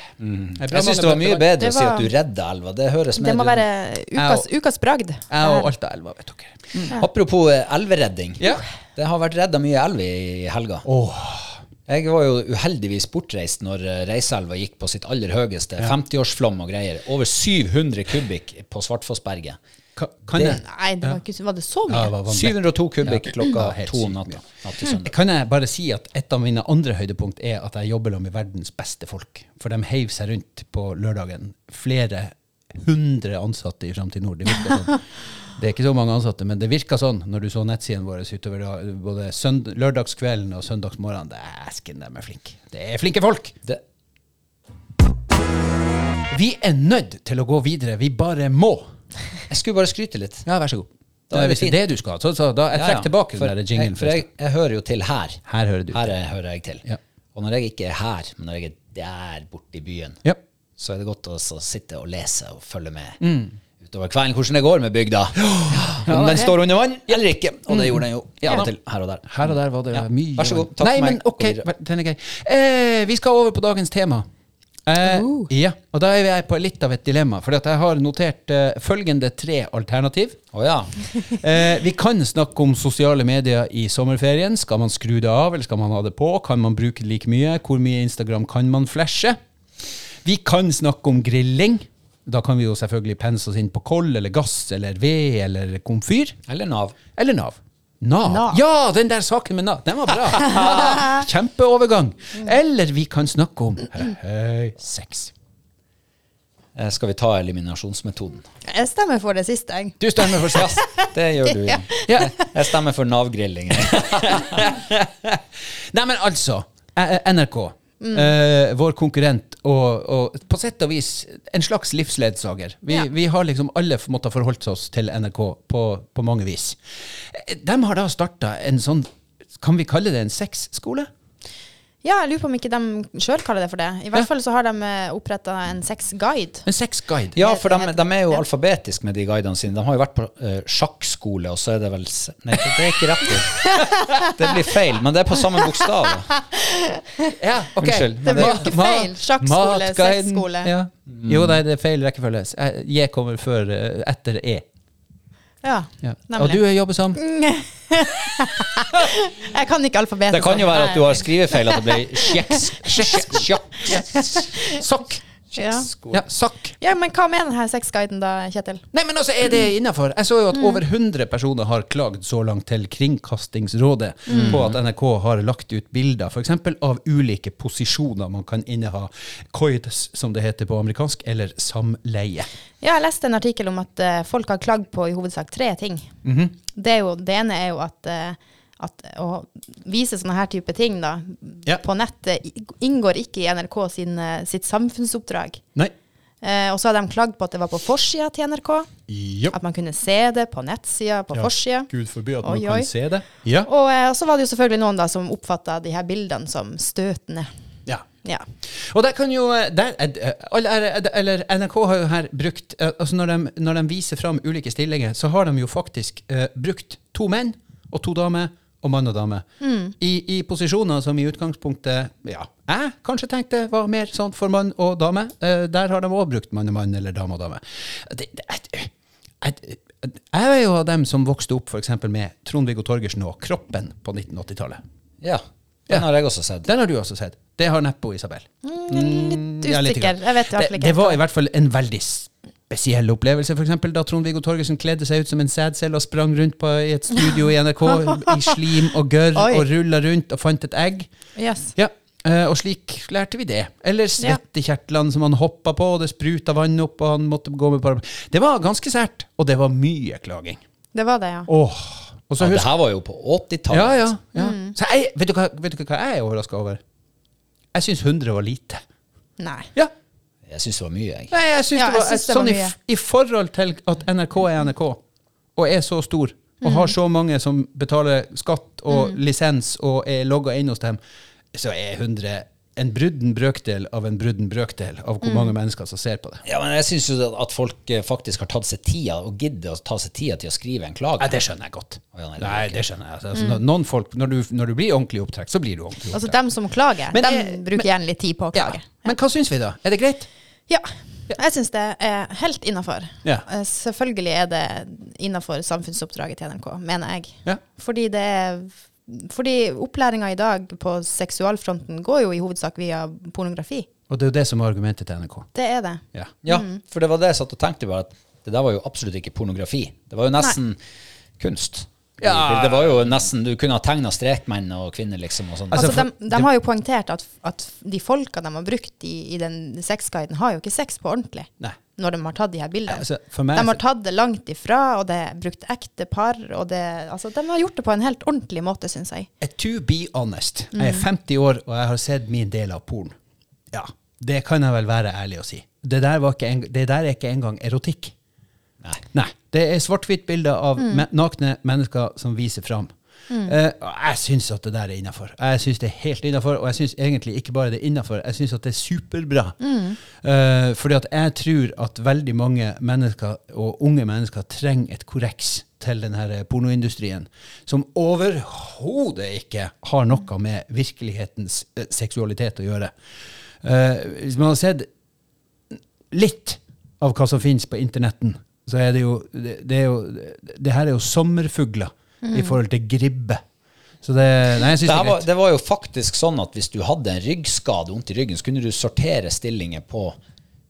Speaker 2: Jeg syns det var mye bedre
Speaker 3: Det
Speaker 2: å si
Speaker 3: var-
Speaker 2: at du redda elva. Det høres
Speaker 3: Det
Speaker 2: mer
Speaker 3: må
Speaker 2: ut.
Speaker 3: være ukas, ukas bragd.
Speaker 1: Jeg og Altaelva, vet dere.
Speaker 2: Apropos eh, elveredding.
Speaker 1: Ja.
Speaker 2: Det har vært redda mye elv i helga. Jeg var jo uheldigvis bortreist når eh, Reiselva gikk på sitt aller høyeste. 50-årsflom og greier. Over 700 kubikk på Svartfossberget.
Speaker 1: Ka- Kan jeg,
Speaker 3: Nei, det var, ikke, var det så
Speaker 1: Ja, det
Speaker 3: mye?
Speaker 1: var vanlig.
Speaker 2: 702 kubikk klokka
Speaker 1: Ja, helt
Speaker 2: to
Speaker 1: sykt
Speaker 2: om natta. Natt til søndag.
Speaker 1: Kan jeg bare si at et av mine andre høydepunkt er at jeg jobber sammen med verdens beste folk. For de heiv seg rundt på lørdagen. Flere 100 ansatte i Framtid Nord. Det virka sånn. Det er ikke så mange ansatte, men det virka sånn når du så nettsidene våre utover da- både sønd lørdagskvelden og søndagsmorgenen. Dæsken, de er flinke. Det er flinke folk!
Speaker 2: Det,
Speaker 1: Vi er nødt til å gå videre. Vi bare må.
Speaker 2: jeg skulle bare skryte litt.
Speaker 1: Ja, vær så god.
Speaker 2: Da er
Speaker 1: Da er
Speaker 2: vi
Speaker 1: det
Speaker 2: fin.
Speaker 1: det du skal. Så, så da, jeg
Speaker 2: Ja,
Speaker 1: trekker
Speaker 2: ja.
Speaker 1: tilbake
Speaker 2: For
Speaker 1: den der
Speaker 2: jeg-
Speaker 1: jinglen
Speaker 2: For jeg,
Speaker 1: først.
Speaker 2: jeg hører jo til her.
Speaker 1: Her hører du til.
Speaker 2: Her er, hører jeg til.
Speaker 1: Ja.
Speaker 2: Og når jeg ikke er her, men når jeg er der borte i byen,
Speaker 1: Ja.
Speaker 2: så er det godt å så sitte og lese og følge med
Speaker 1: Mm.
Speaker 2: utover kvelden hvordan det går med bygda.
Speaker 1: [gasps]
Speaker 2: Om den står under vann eller ikke. Og det gjorde den jo av og til her og der.
Speaker 1: Mm. Her og der var det
Speaker 2: Ja.
Speaker 1: mye
Speaker 2: Vær så god. Takk
Speaker 1: Nei,
Speaker 2: for meg.
Speaker 1: men ok,
Speaker 2: Gå videre.
Speaker 1: vær- den er grei. Eh, vi skal over på dagens tema. Eh, Ja, og da er jeg på litt av et dilemma. For at jeg har notert eh, følgende tre alternativ.
Speaker 2: Å ja.
Speaker 1: Eh, vi kan snakke om sosiale medier i sommerferien. Skal man skru det av, eller skal man ha det på? Kan man bruke det like mye? Hvor mye Instagram kan man flashe? Vi kan snakke om grilling. Da kan vi jo selvfølgelig pense oss inn på koll eller gass eller ved eller komfyr.
Speaker 2: Eller Nav.
Speaker 1: Eller Nav. Nav.
Speaker 3: Nav.
Speaker 1: Ja, den der saken med Nav, den var bra! [laughs] Kjempeovergang. Eller vi kan snakke om høy sex.
Speaker 2: Eh, Skal vi ta eliminasjonsmetoden?
Speaker 1: [laughs]
Speaker 3: Jeg stemmer for det siste, jeg.
Speaker 2: Du stemmer for SAS. Det gjør du. Jan.
Speaker 1: Ja.
Speaker 2: Jeg stemmer for Nav-grilling.
Speaker 1: Nei, men altså. eh, eh, NRK. eh, vår konkurrent og, og på sett og vis en slags livsledsager. Vi,
Speaker 3: Ja.
Speaker 1: vi har liksom alle måttet forholdt oss til NRK på, på mange vis. Eh, De har da starta en sånn, kan vi kalle det en sexskole?
Speaker 3: Ja, jeg lurer på om ikke de sjøl kaller det for det. I hvert fall så har de oppretta en sexguide.
Speaker 1: En sexguide?
Speaker 2: Ja, for de, de er jo alfabetiske med de guidene sine. De har jo vært på eh, sjakkskole, og så er det vel s- Nei, det er ikke rett ord. Det blir feil, men det er på samme bokstav.
Speaker 1: Ja, ok.
Speaker 2: Unnskyld, men
Speaker 3: Det blir jo ikke feil. Sjakkskole,
Speaker 1: matguiden,
Speaker 3: sexskole.
Speaker 1: Ja. Jo, nei, det er feil rekkefølge. S- eh, J kommer før, eh, etter E.
Speaker 3: Ja,
Speaker 1: Ja. Og du
Speaker 3: nemlig. Mm.
Speaker 1: jobber som?
Speaker 3: Jeg kan ikke alfabetet.
Speaker 2: Det kan jo
Speaker 3: så-
Speaker 2: være at du
Speaker 3: Nei.
Speaker 2: har skrivefeil, at det blir sjeks... sjeks- sjaks-
Speaker 1: Sokk.
Speaker 3: ja.
Speaker 1: Ja, sokk.
Speaker 3: ja, men hva mener denne sexguiden da, Kjetil?
Speaker 1: Nei, men altså, er
Speaker 3: Mm.
Speaker 1: det innafor? Jeg så jo at over 100 personer har klagd så langt til Kringkastingsrådet
Speaker 3: Mm.
Speaker 1: på at NRK har lagt ut bilder f.eks. av ulike posisjoner man kan inneha. Coitus, som det heter på amerikansk, eller samleie.
Speaker 3: Ja, jeg leste en artikkel om at eh, folk har klagd på i hovedsak tre ting.
Speaker 1: Mhm.
Speaker 3: det, er jo, det ene er jo at, eh, at å vise sånne her type ting da,
Speaker 1: Ja.
Speaker 3: på nettet i- inngår ikke i NRK sin, eh, sitt samfunnsoppdrag.
Speaker 1: Nei.
Speaker 3: Eh, og så har de klagd på at det var på forsida til NRK.
Speaker 1: Jo.
Speaker 3: At man kunne se det på nettsida, på forsida.
Speaker 1: Gud forby at
Speaker 3: Oi,
Speaker 1: man
Speaker 3: oi.
Speaker 1: kan se det. Ja.
Speaker 3: Og eh, så var det jo selvfølgelig noen da som oppfatta de her bildene som støtende.
Speaker 1: ja.
Speaker 3: Ja.
Speaker 1: Og der kan jo eh, der, eh, alle er- eller NRK har jo her brukt eh, altså når, de, når de viser fram ulike stillinger, så har de jo faktisk eh, brukt to menn og to damer og mann og dame i, i posisjoner som i utgangspunktet ja, jeg kanskje tenkte var mer sånn for mann og dame. Eh, der har de òg brukt mann og mann eller dame og dame. Det, det, jeg, jeg, jeg er jo av dem som vokste opp for eksempel med Trond-Viggo Torgersen og Kroppen på 1980-tallet.
Speaker 2: Ja. Den har jeg også sett.
Speaker 1: Den har du også sett. Det har neppe Isabel.
Speaker 3: Mm,
Speaker 1: Mm,
Speaker 3: Litt
Speaker 1: Ja, litt
Speaker 3: usikker.
Speaker 1: grann.
Speaker 3: Jeg vet i hvert fall
Speaker 1: det,
Speaker 3: ikke.
Speaker 1: det var i hvert fall en veldig spesiell opplevelse, for eksempel da Trond-Viggo Torgersen kledde seg ut som en sædcelle og sprang rundt på, i et studio i NRK
Speaker 3: [laughs]
Speaker 1: i slim og gørr
Speaker 3: Oi.
Speaker 1: og rulla rundt og fant et egg.
Speaker 3: Yes.
Speaker 1: Ja, eh, og slik lærte vi det. Eller svettekjertlene som han hoppa på, og det spruta vann opp, og han måtte gå med paraply. Det var ganske sært, og det var mye klaging.
Speaker 3: Det var det, ja.
Speaker 1: Åh, og så
Speaker 2: Ja, det
Speaker 1: husk
Speaker 2: her var jo på
Speaker 1: ja,
Speaker 2: 80-tallet.
Speaker 1: ja, ja.
Speaker 3: Mm.
Speaker 1: Så jeg, vet, du hva, vet du hva jeg er overraska over? Jeg syns 100 var lite.
Speaker 3: Nei.
Speaker 1: Ja,
Speaker 2: Jeg syns det var mye, jeg.
Speaker 1: Nei, jeg syns
Speaker 3: Ja,
Speaker 1: det var,
Speaker 3: jeg syns det
Speaker 1: sånn
Speaker 3: var
Speaker 1: i,
Speaker 3: mye.
Speaker 1: i forhold til at NRK er NRK, og er så stor, og har
Speaker 3: Mm.
Speaker 1: så mange som betaler skatt og lisens og er logga inn hos dem, så er 100 en brudden brøkdel av en brudden brøkdel av
Speaker 3: Mm.
Speaker 1: hvor mange mennesker som ser på det.
Speaker 2: Ja, men jeg syns jo at folk eh, faktisk har tatt seg tida, og gidder å ta seg tida til å skrive en klage.
Speaker 1: Nei, det skjønner jeg godt.
Speaker 2: Å, ja, nei, det er
Speaker 1: Nei, det skjønner jeg.
Speaker 3: Mm.
Speaker 1: Altså, når- Noen folk, når du, når du blir ordentlig opptrekt, så blir du ordentlig opptrekt.
Speaker 3: Altså, dem som klager,
Speaker 1: Men
Speaker 3: dem
Speaker 1: jeg-
Speaker 3: bruker gjerne litt tid på å
Speaker 1: ja.
Speaker 3: klage.
Speaker 1: Men hva syns vi, da? Er det greit?
Speaker 3: Ja. Jeg syns det er helt innafor. Eh,
Speaker 1: Ja.
Speaker 3: Selvfølgelig er det innafor samfunnsoppdraget til NRK, mener jeg.
Speaker 1: Ja.
Speaker 3: Fordi det er fordi opplæringa i dag på seksualfronten går jo i hovedsak via pornografi.
Speaker 1: Og det er jo det som er argumentet til NRK.
Speaker 3: Det er det.
Speaker 1: Ja.
Speaker 2: Ja, for det var det jeg satt og tenkte på. At det der var jo absolutt ikke pornografi. Det var jo nesten kunst.
Speaker 1: Ja.
Speaker 2: Det var jo nesten, Du kunne ha tegna strekmenn og kvinner, liksom. og sånn.
Speaker 1: Altså,
Speaker 3: Altså,
Speaker 1: for-
Speaker 3: de, de har jo poengtert at, at de folka de har brukt i, i den sexguiden, har jo ikke sex på ordentlig.
Speaker 1: Nei.
Speaker 3: når de har tatt de her bildene.
Speaker 2: Altså, for meg
Speaker 3: de har tatt det langt ifra, og det er brukt ekte par. Og det, altså, de har gjort det på en helt ordentlig måte, syns jeg.
Speaker 1: Eh, To be honest. Jeg er 50 år, og jeg har sett min del av porn. Ja, det kan jeg vel være ærlig å si. Det der, var ikke en, det der er ikke engang erotikk.
Speaker 2: Nei.
Speaker 1: Nei. Det er svart-hvitt bilder av me nakne mennesker som viser fram. Eh, og jeg syns at det der er innafor. Jeg syns det er helt innafor, og jeg syns egentlig ikke bare det er innafor, jeg syns at det er superbra. Eh, fordi at jeg tror at veldig mange mennesker, og unge mennesker, trenger et korreks til den her pornoindustrien, som overhodet ikke har noe med virkelighetens eh, seksualitet å gjøre. Eh, hvis man har sett litt av hva som finnes på internetten, så er det jo Det, det, er jo, det her er jo sommerfugler
Speaker 3: Mm.
Speaker 1: i forhold til gribbe. Så det Nei, jeg syns
Speaker 2: det,
Speaker 1: det er
Speaker 2: her var,
Speaker 1: greit.
Speaker 2: det var jo faktisk sånn at hvis du hadde en ryggskade, vondt i ryggen, så kunne du sortere stillinger på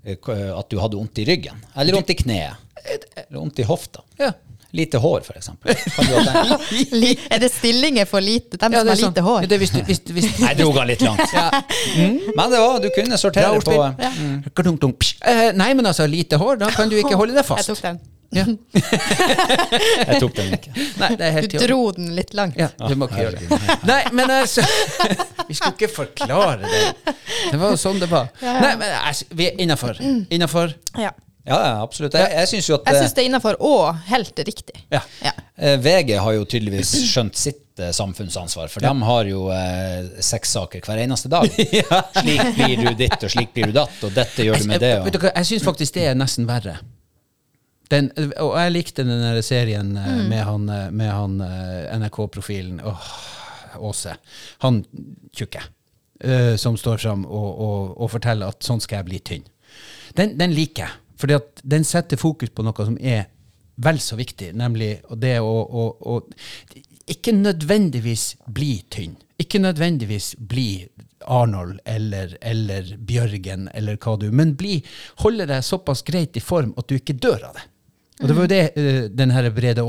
Speaker 2: eh, k- at du hadde vondt i ryggen. Eller vondt i kneet. Eller vondt i hofta.
Speaker 1: Ja.
Speaker 2: Lite hår, for eksempel. Kan du ha den?
Speaker 3: Li- Er det stillinger for lite? Dem
Speaker 1: Ja,
Speaker 3: som
Speaker 1: det
Speaker 3: har
Speaker 1: er sånn.
Speaker 3: lite hår?
Speaker 1: Ja, det er hvis du, hvis, hvis,
Speaker 2: [laughs]
Speaker 1: [laughs]
Speaker 2: Nei, jeg dro den litt langt. Mm. Men det var, du kunne
Speaker 1: Bra
Speaker 2: sortere på
Speaker 1: ordspill. Mm. Kadunk, dunk, psh. Eh, nei, men altså, lite hår, da kan du ikke holde deg
Speaker 3: Jeg
Speaker 1: fast.
Speaker 3: tok den.
Speaker 1: Ja.
Speaker 2: Jeg tok den ikke.
Speaker 1: Nei, det er helt
Speaker 3: Du
Speaker 1: i orden.
Speaker 3: dro den litt langt.
Speaker 1: Ja, du må ikke gjøre det. Nei, men altså [laughs] Vi skulle ikke forklare det. Det var jo sånn det var.
Speaker 3: Ja, Mm. ja.
Speaker 1: Nei, men altså, vi er innafor. Innafor.
Speaker 3: Ja.
Speaker 2: Ja, ja, absolutt. Jeg, jeg syns jo at
Speaker 3: Jeg
Speaker 2: eh,
Speaker 3: syns det er innafor og helt riktig.
Speaker 1: Ja.
Speaker 3: Ja.
Speaker 2: Eh, VG har jo tydeligvis skjønt sitt eh, samfunnsansvar, for de har jo eh, sexsaker hver eneste
Speaker 1: [laughs]
Speaker 2: dag. Slik blir du ditt, og slik blir du datt, og dette gjør du
Speaker 1: [laughs]
Speaker 2: med det.
Speaker 1: Jeg, vet
Speaker 2: Og.
Speaker 1: du hva, jeg syns faktisk det er nesten verre. Den, og jeg likte den der serien eh,
Speaker 2: Mm.
Speaker 1: med han, eh, med han eh, NRK-profilen Åh, Åse. Han tjukke. eh, som står fram og, og, og forteller at sånn skal jeg bli tynn. Den, den liker jeg. Fordi at den setter fokus på noe som er vel så viktig, nemlig og det å, å, å Ikke nødvendigvis bli tynn. Ikke nødvendigvis bli Arnold eller, eller Bjørgen eller hva du Men bli, holde deg såpass greit i form at du ikke dør av det. Og det var jo det eh, den her Brede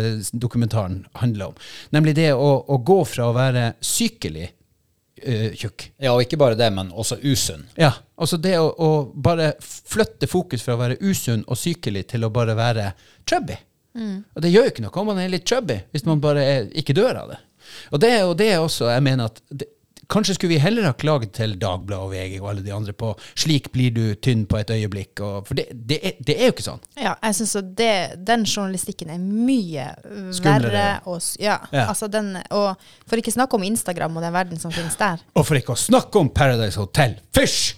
Speaker 1: Aase-dokumentaren handla om. Nemlig det å, å gå fra å være sykelig eh, tjukk
Speaker 2: Ja, og ikke bare det, men også usunn.
Speaker 1: ja, altså det å, å bare flytte fokus fra å være usunn og sykelig til å bare være chubby. Og det gjør jo ikke noe om man er litt chubby, hvis man bare er, ikke dør av det. Og det er jo det er også jeg mener at det, Kanskje skulle vi heller ha klaget til Dagbladet og VG og alle de andre på 'slik blir du tynn på et øyeblikk', og, for det, det, er, det er jo ikke sånn.
Speaker 3: Ja, jeg syns den journalistikken er mye eh,
Speaker 1: Skumlere.
Speaker 3: verre. Og, s- ja,
Speaker 1: Ja.
Speaker 3: Altså den, og for ikke snakke om Instagram og den verden som finnes der.
Speaker 1: Og for ikke å snakke om Paradise Hotel. Fysj!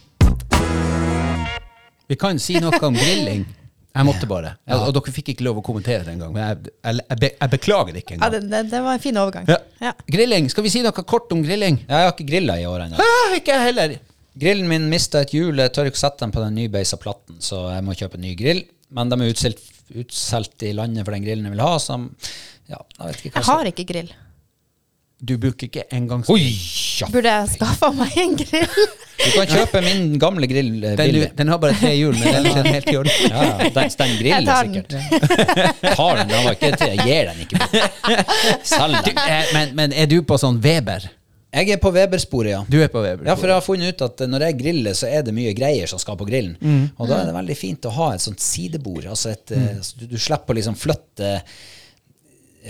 Speaker 1: Vi kan si noe om grilling. Jeg måtte bare. Og, og dere fikk ikke lov å kommentere det engang. men Jeg, jeg, jeg, be- jeg beklager det ikke
Speaker 3: Ja,
Speaker 1: engang.
Speaker 3: det, det, det var en fin overgang.
Speaker 1: Ja.
Speaker 3: Ja.
Speaker 1: Grilling. Skal vi si noe kort om grilling?
Speaker 2: Ja, Jeg har ikke grilla i år ennå.
Speaker 1: Ah, ikke jeg heller.
Speaker 2: Grillen min mista et hjul, jeg tør ikke sette den på den nybeisa platten, så jeg må kjøpe en ny grill. Men de er utsolgt, utsolgt i landet for den grillen jeg vil ha, så ja, jeg vet ikke hva
Speaker 3: Jeg har ikke grill.
Speaker 1: Du bruker ikke engangs...
Speaker 2: Oi, ja.
Speaker 3: Burde jeg skaffa meg en grill?
Speaker 2: Du kan kjøpe min gamle grill eh,
Speaker 1: Den,
Speaker 2: billig.
Speaker 1: den har bare tre hjul, men den er helt i orden.
Speaker 2: Ja, [laughs] ja, den, den
Speaker 3: Jeg
Speaker 2: griller
Speaker 3: tar den.
Speaker 2: sikkert. Tar den, den var ikke til. Jeg gir den ikke bort. Selg
Speaker 1: Du,
Speaker 2: den.
Speaker 1: eh, men, men er du på sånn Weber?
Speaker 2: Jeg er på Weber-sporet, ja.
Speaker 1: Du er på Weber.
Speaker 2: Ja, for jeg har funnet ut at når jeg griller, så er det mye greier som skal på grillen.
Speaker 1: Mm.
Speaker 2: Og da er det veldig fint å ha et sånt sidebord. Altså et, eh, så du, du slipper å liksom flytte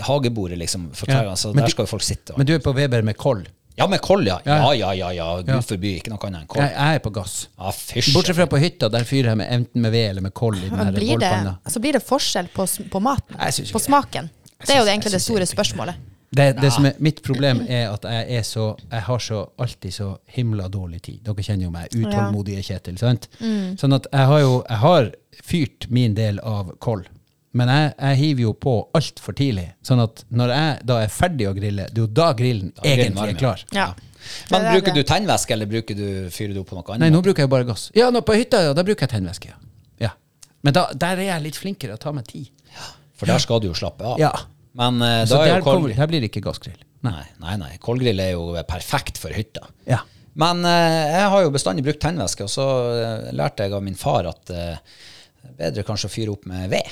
Speaker 2: hagebordet, liksom. For
Speaker 1: Ja,
Speaker 2: ja. altså,
Speaker 1: men
Speaker 2: der
Speaker 1: du-
Speaker 2: skal jo folk sitte. Og.
Speaker 1: Men du er på Weber med koll?
Speaker 2: Ja, med koll, ja.
Speaker 1: Ja.
Speaker 2: Ja, ja, ja. ja. Gud forby, ikke noe annet enn
Speaker 1: Jeg,
Speaker 2: koll.
Speaker 1: jeg er på gass.
Speaker 2: Ja, fysj.
Speaker 1: Bortsett fra på hytta, der fyrer jeg med enten med ved eller med koll i den her
Speaker 3: Blir det,
Speaker 1: bålpanna.
Speaker 3: så blir det forskjell på, s- på maten.
Speaker 1: Jeg syns ikke
Speaker 3: På
Speaker 1: det.
Speaker 3: smaken. Det er jo
Speaker 1: syns-
Speaker 3: det
Speaker 1: jeg
Speaker 3: egentlig det
Speaker 1: syns
Speaker 3: store
Speaker 1: egentlig ikke
Speaker 3: spørsmålet.
Speaker 1: Det, det som er mitt problem, er at jeg er så Jeg har så alltid så himla dårlig tid. Dere kjenner jo meg. Utålmodige Kjetil. sant? Sånn at jeg har jo jeg har fyrt min del av koll. Men jeg, jeg hiver jo på altfor tidlig. Sånn at når jeg da er ferdig å grille, det er jo da grillen
Speaker 2: er grillen
Speaker 1: egentlig
Speaker 2: varm,
Speaker 1: er
Speaker 2: ja.
Speaker 1: klar.
Speaker 3: Ja.
Speaker 2: Men
Speaker 3: Det er
Speaker 2: bruker du
Speaker 3: det.
Speaker 2: tennvæske, eller bruker du, fyrer du på noe annet?
Speaker 1: Nei, nå bruker jeg bare gass. Ja, nå på hytta, ja, da bruker jeg tennvæske. Ja. Ja. Men da, der er jeg litt flinkere og tar meg tid.
Speaker 2: For der skal du jo slappe av.
Speaker 1: Ja.
Speaker 2: Men eh,
Speaker 1: Så
Speaker 2: da er
Speaker 1: der,
Speaker 2: jo koll...
Speaker 1: kommer, der blir det ikke gassgrill.
Speaker 2: Nei, nei, nei. Kålgrill er jo perfekt for hytta.
Speaker 1: Ja.
Speaker 2: Men eh, jeg har jo bestandig brukt tennvæske, og så eh, lærte jeg av min far at eh, bedre kanskje å fyre opp med ved.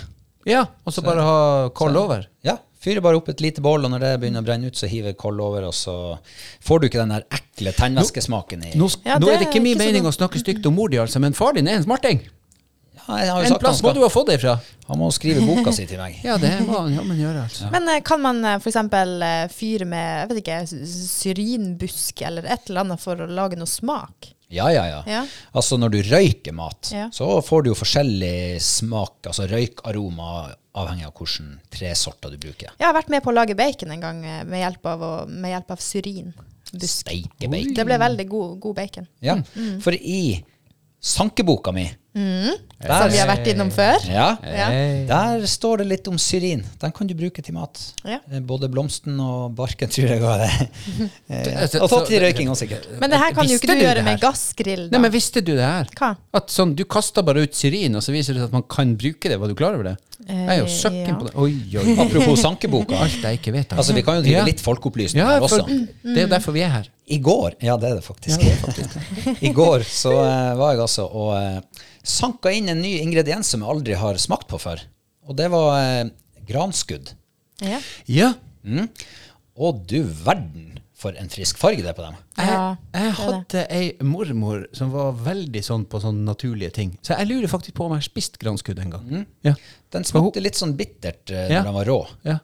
Speaker 1: ja og så bare ha koll over.
Speaker 2: Ja, fyre bare opp et lite bål, og når det begynner å brenne ut, så hiver koll over, og så får du ikke den der ekle tennvæskesmaken i
Speaker 1: Nå, sk-
Speaker 3: Ja,
Speaker 1: nå
Speaker 3: det
Speaker 1: er det ikke
Speaker 3: er
Speaker 1: min
Speaker 3: ikke så
Speaker 1: mening
Speaker 3: dumt.
Speaker 1: å snakke stygt om mor di, altså, men far din er en smarting.
Speaker 2: Ja, jeg har jo
Speaker 1: En
Speaker 2: sagt han
Speaker 1: plass må du
Speaker 2: skal
Speaker 1: ha fått det ifra.
Speaker 2: Han må skrive boka si til
Speaker 1: [laughs]
Speaker 2: meg.
Speaker 1: Ja, det må han jammen gjøre, altså.
Speaker 3: Men eh, kan man f.eks. fyre med jeg vet ikke, s- syrinbusk eller et eller annet for å lage noe smak?
Speaker 2: Ja, ja, ja.
Speaker 3: Ja.
Speaker 2: Altså når du røyker mat,
Speaker 3: Ja.
Speaker 2: så får du jo forskjellig smak, altså røykaroma, avhengig av hvilke tresorter du bruker.
Speaker 3: Jeg har vært med på å lage bacon en gang eh, med hjelp av, å- med hjelp av syrinbusk.
Speaker 2: Steike bacon.
Speaker 3: Det ble veldig god, god bacon.
Speaker 2: Ja.
Speaker 3: mm.
Speaker 2: For i sankeboka mi
Speaker 3: Som
Speaker 2: der,
Speaker 3: vi har vært innom før.
Speaker 2: ja,
Speaker 3: Ja.
Speaker 2: der står det litt om syrin. Den kan du bruke til mat.
Speaker 3: Ja.
Speaker 2: Eh, Både blomsten og barken, tror jeg
Speaker 3: [laughs]
Speaker 2: var det. Eh,
Speaker 1: Så-
Speaker 2: Og
Speaker 1: så-
Speaker 2: tatt til røyking også, sikkert.
Speaker 3: Men det her kan jo
Speaker 1: Visste
Speaker 3: ikke du
Speaker 1: du
Speaker 3: gjøre
Speaker 1: det
Speaker 3: med
Speaker 1: her?
Speaker 3: gassgrill.
Speaker 1: Nei,
Speaker 3: Da.
Speaker 1: men visste du det her?
Speaker 3: Hva?
Speaker 1: At sånn, Du kasta bare ut syrin, og så viser det seg at man kan bruke det. Var du klar over det?
Speaker 3: Eh,
Speaker 1: Jeg er jo søkken
Speaker 3: ja.
Speaker 1: på det. Oi, oi, oi.
Speaker 2: Apropos
Speaker 1: [laughs]
Speaker 2: sankeboka.
Speaker 1: Alt jeg ikke vet.
Speaker 2: Altså, vi kan jo drive
Speaker 1: Ja.
Speaker 2: litt folkeopplysning
Speaker 1: Ja,
Speaker 2: her
Speaker 1: for,
Speaker 2: også.
Speaker 1: det er jo derfor vi er her.
Speaker 2: I går Ja, det er det faktisk. [laughs] I går så eh, var jeg altså og uh, sanka inn en ny ingrediens som jeg aldri har smakt på før. Og det var eh, granskudd.
Speaker 3: Ja.
Speaker 1: Ja,
Speaker 2: Mm. Og du verden for en frisk farge det er på dem.
Speaker 1: Jeg,
Speaker 3: Ja,
Speaker 1: jeg
Speaker 3: det er det.
Speaker 1: hadde ei mormor som var veldig sånn på sånne naturlige ting. Så jeg lurer faktisk på om jeg har spist granskudd en gang.
Speaker 2: Mm.
Speaker 1: Ja.
Speaker 2: Den smakte litt sånn bittert eh,
Speaker 1: Ja.
Speaker 2: når den var rå,
Speaker 1: Ja.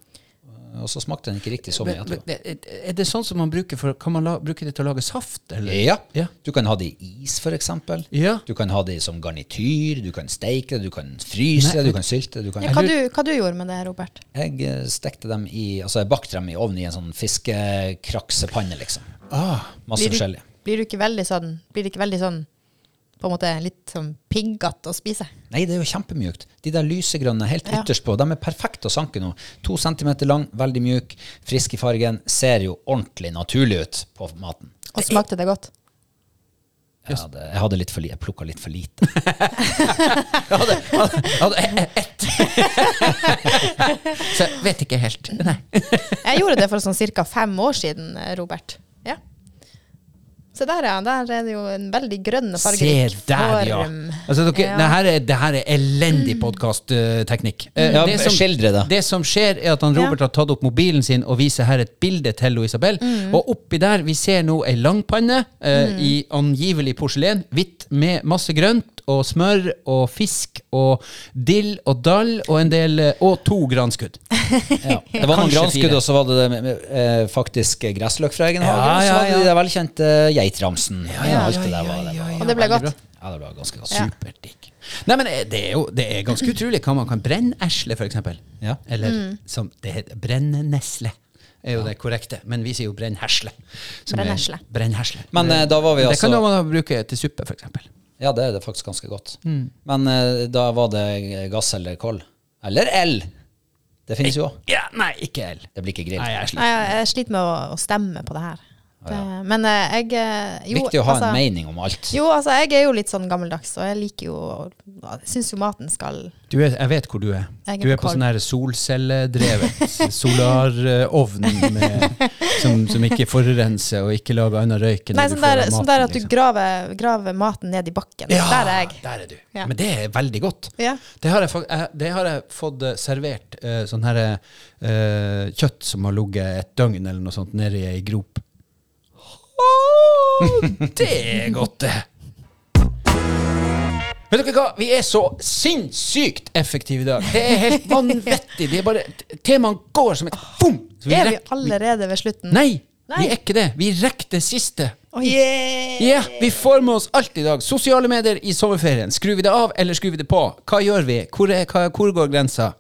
Speaker 2: og så smakte den ikke riktig så mye
Speaker 1: Men, men,
Speaker 2: etterpå.
Speaker 1: er det sånn som man bruker for Kan man la, bruke det til å lage saft, eller?
Speaker 2: Ja.
Speaker 1: Ja.
Speaker 2: Du kan ha det i is, for eksempel.
Speaker 1: Ja.
Speaker 2: Du kan ha det som garnityr, du kan steike det, du kan fryse det, du kan sylte det. Du kan...
Speaker 3: Ja, hva, du, hva du gjorde med det, Robert?
Speaker 2: Jeg eh, stekte dem i Altså, jeg bakte dem i ovnen i en sånn fiskekraksepanne, liksom.
Speaker 1: Ah,
Speaker 2: Masse
Speaker 3: Blir du,
Speaker 2: forskjellig.
Speaker 3: blir du ikke veldig sånn Blir det ikke veldig sånn på en måte litt sånn piggete å spise?
Speaker 2: Nei, det er jo kjempemjukt. De der lysegrønne helt
Speaker 3: Ja.
Speaker 2: ytterst på, de er perfekte å sanke nå. To centimeter lang, veldig mjuk, frisk i fargen. Ser jo ordentlig naturlig ut på maten.
Speaker 3: Og smakte det godt?
Speaker 2: Jeg hadde, jeg hadde litt for lite. Jeg plukka litt for lite. [laughs]
Speaker 1: jeg hadde, hadde, hadde e- e- [laughs] ett. Så jeg vet ikke helt. Nei.
Speaker 3: Jeg gjorde det for sånn ca. fem år siden, eh, Robert. Ja. Se der, ja. Der er det jo en veldig grønn og fargerik
Speaker 1: Se der, ja.
Speaker 3: form.
Speaker 1: Altså, dere,
Speaker 3: Ja.
Speaker 1: Det, her er, det her er elendig Eh, podkastteknikk.
Speaker 2: Ja, skildre det.
Speaker 1: Mm. det som skjer, er at han
Speaker 3: Ja.
Speaker 1: Robert har tatt opp mobilen sin og viser her et bilde til og Isabel.
Speaker 3: Mm.
Speaker 1: Og oppi der vi ser nå ei langpanne eh, i angivelig porselen. Hvitt med masse grønt og smør og fisk og dill og dall og en del eh, Og to granskudd.
Speaker 2: Ja. Det var noen
Speaker 1: Kanskje
Speaker 2: granskudd,
Speaker 1: fire.
Speaker 2: og så var det det med- eh, faktisk gressløk fra egen hage.
Speaker 1: Ja,
Speaker 2: Og så
Speaker 1: ja,
Speaker 2: var det
Speaker 1: ja.
Speaker 2: de der velkjente geitramsen.
Speaker 1: Ah, ja,
Speaker 2: Alt
Speaker 1: ja,
Speaker 2: det der var
Speaker 1: ja,
Speaker 2: det. var-
Speaker 1: ja,
Speaker 3: Og det ble
Speaker 1: veldig
Speaker 3: godt.
Speaker 2: Ja, det var ganske godt.
Speaker 3: Ja.
Speaker 1: Superdigg. Nei, men eh, det er jo det er ganske utrolig hva man kan brenne esle, for eksempel.
Speaker 2: Ja.
Speaker 1: Eller
Speaker 3: Mm.
Speaker 1: som det heter, brennenesle. Er jo det korrekte, men vi sier jo brennhersle. som er-
Speaker 3: Brennhersle.
Speaker 1: brennhersle.
Speaker 2: Men eh, da var vi
Speaker 1: det
Speaker 2: altså
Speaker 1: kan jo man bruke til suppe, for eksempel.
Speaker 2: Ja, det er det faktisk ganske godt.
Speaker 1: Mm.
Speaker 2: Men eh, da var det gass eller koll. Eller el! Det finnes jo òg.
Speaker 1: Ja, nei, ikke el.
Speaker 2: Det blir ikke grill.
Speaker 1: Nei, jeg sliter.
Speaker 3: Nei, jeg, jeg sliter med å, å stemme på det her. Det, men eh, jeg eh, jo,
Speaker 2: Viktig å ha
Speaker 3: altså-
Speaker 2: en mening om alt.
Speaker 3: Jo, altså, jeg er jo litt sånn gammeldags, og jeg liker jo Jeg syns jo maten skal
Speaker 1: Du er, jeg vet hvor du er.
Speaker 3: Jeg er
Speaker 1: Du er
Speaker 3: på
Speaker 1: på
Speaker 3: Kolb.
Speaker 1: sånn her solcelledrevet solarovn med- som, som ikke forurenser og ikke lager annen røyk enn
Speaker 3: Nei,
Speaker 1: det du
Speaker 3: sånn
Speaker 1: får
Speaker 3: der,
Speaker 1: av
Speaker 3: sånn
Speaker 1: maten,
Speaker 3: der at du
Speaker 1: liksom.
Speaker 3: graver, graver maten ned i bakken. Der er jeg.
Speaker 1: Der er du.
Speaker 3: Ja.
Speaker 1: Men det er veldig godt.
Speaker 3: Ja.
Speaker 1: Det har jeg, fak- eh, det har jeg fått eh, servert eh, sånn her eh, kjøtt som har ligget et døgn eller noe sånt nede i ei grop. Å, [laughs] det er godt, det! Vet dere hva? Vi er så sinnssykt effektive i dag. Det er
Speaker 3: [laughs]
Speaker 1: helt vanvittig. Det er bare, Temaene går som et boom! Så
Speaker 3: Er vi
Speaker 1: rekker-
Speaker 3: allerede ved slutten?
Speaker 1: Nei,
Speaker 3: Nei.
Speaker 1: vi er ikke det. Vi rekker det siste.
Speaker 3: Oi.
Speaker 1: Ja, vi får med oss alt i dag. Sosiale medier i sommerferien. Skrur vi det av, eller skrur vi det på? Hva gjør vi? Hvor, er, hva, hvor går grensa?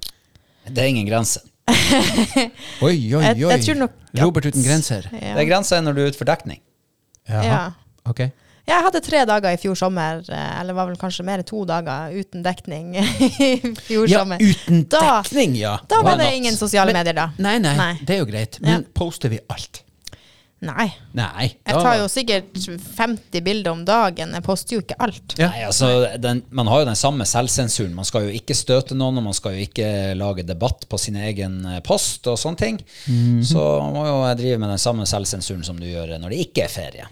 Speaker 2: Det er ingen grense.
Speaker 1: Oi, oi,
Speaker 3: Jeg- jeg tror nok at-
Speaker 1: Robert uten grenser.
Speaker 2: Det er
Speaker 3: Ja.
Speaker 2: grensa når du er ute for dekning.
Speaker 1: Jaha.
Speaker 3: Ja.
Speaker 1: Ok.
Speaker 3: Jeg hadde tre dager i fjor sommer, eh, eller var vel kanskje mer to dager uten dekning [laughs] i fjor
Speaker 1: Ja,
Speaker 3: sommer.
Speaker 1: uten
Speaker 3: Da-
Speaker 1: dekning, ja.
Speaker 3: Da var
Speaker 2: Why
Speaker 3: det
Speaker 2: not?
Speaker 3: ingen sosiale
Speaker 1: Men-
Speaker 3: medier, da.
Speaker 1: Nei, nei,
Speaker 3: Nei.
Speaker 1: det er jo greit. Men poster vi alt?
Speaker 3: Nei.
Speaker 1: Nei.
Speaker 3: Jeg
Speaker 1: da-
Speaker 3: tar jo sikkert 50 bilder om dagen. Jeg poster jo ikke alt.
Speaker 1: Ja.
Speaker 2: Nei, altså, den, Man har jo den samme selvsensuren. Man skal jo ikke støte noen, og man skal jo ikke lage debatt på sin egen eh, post og sånne ting.
Speaker 1: Mhm.
Speaker 2: Så man må jo drive med den samme selvsensuren som du gjør eh, når det ikke er ferie.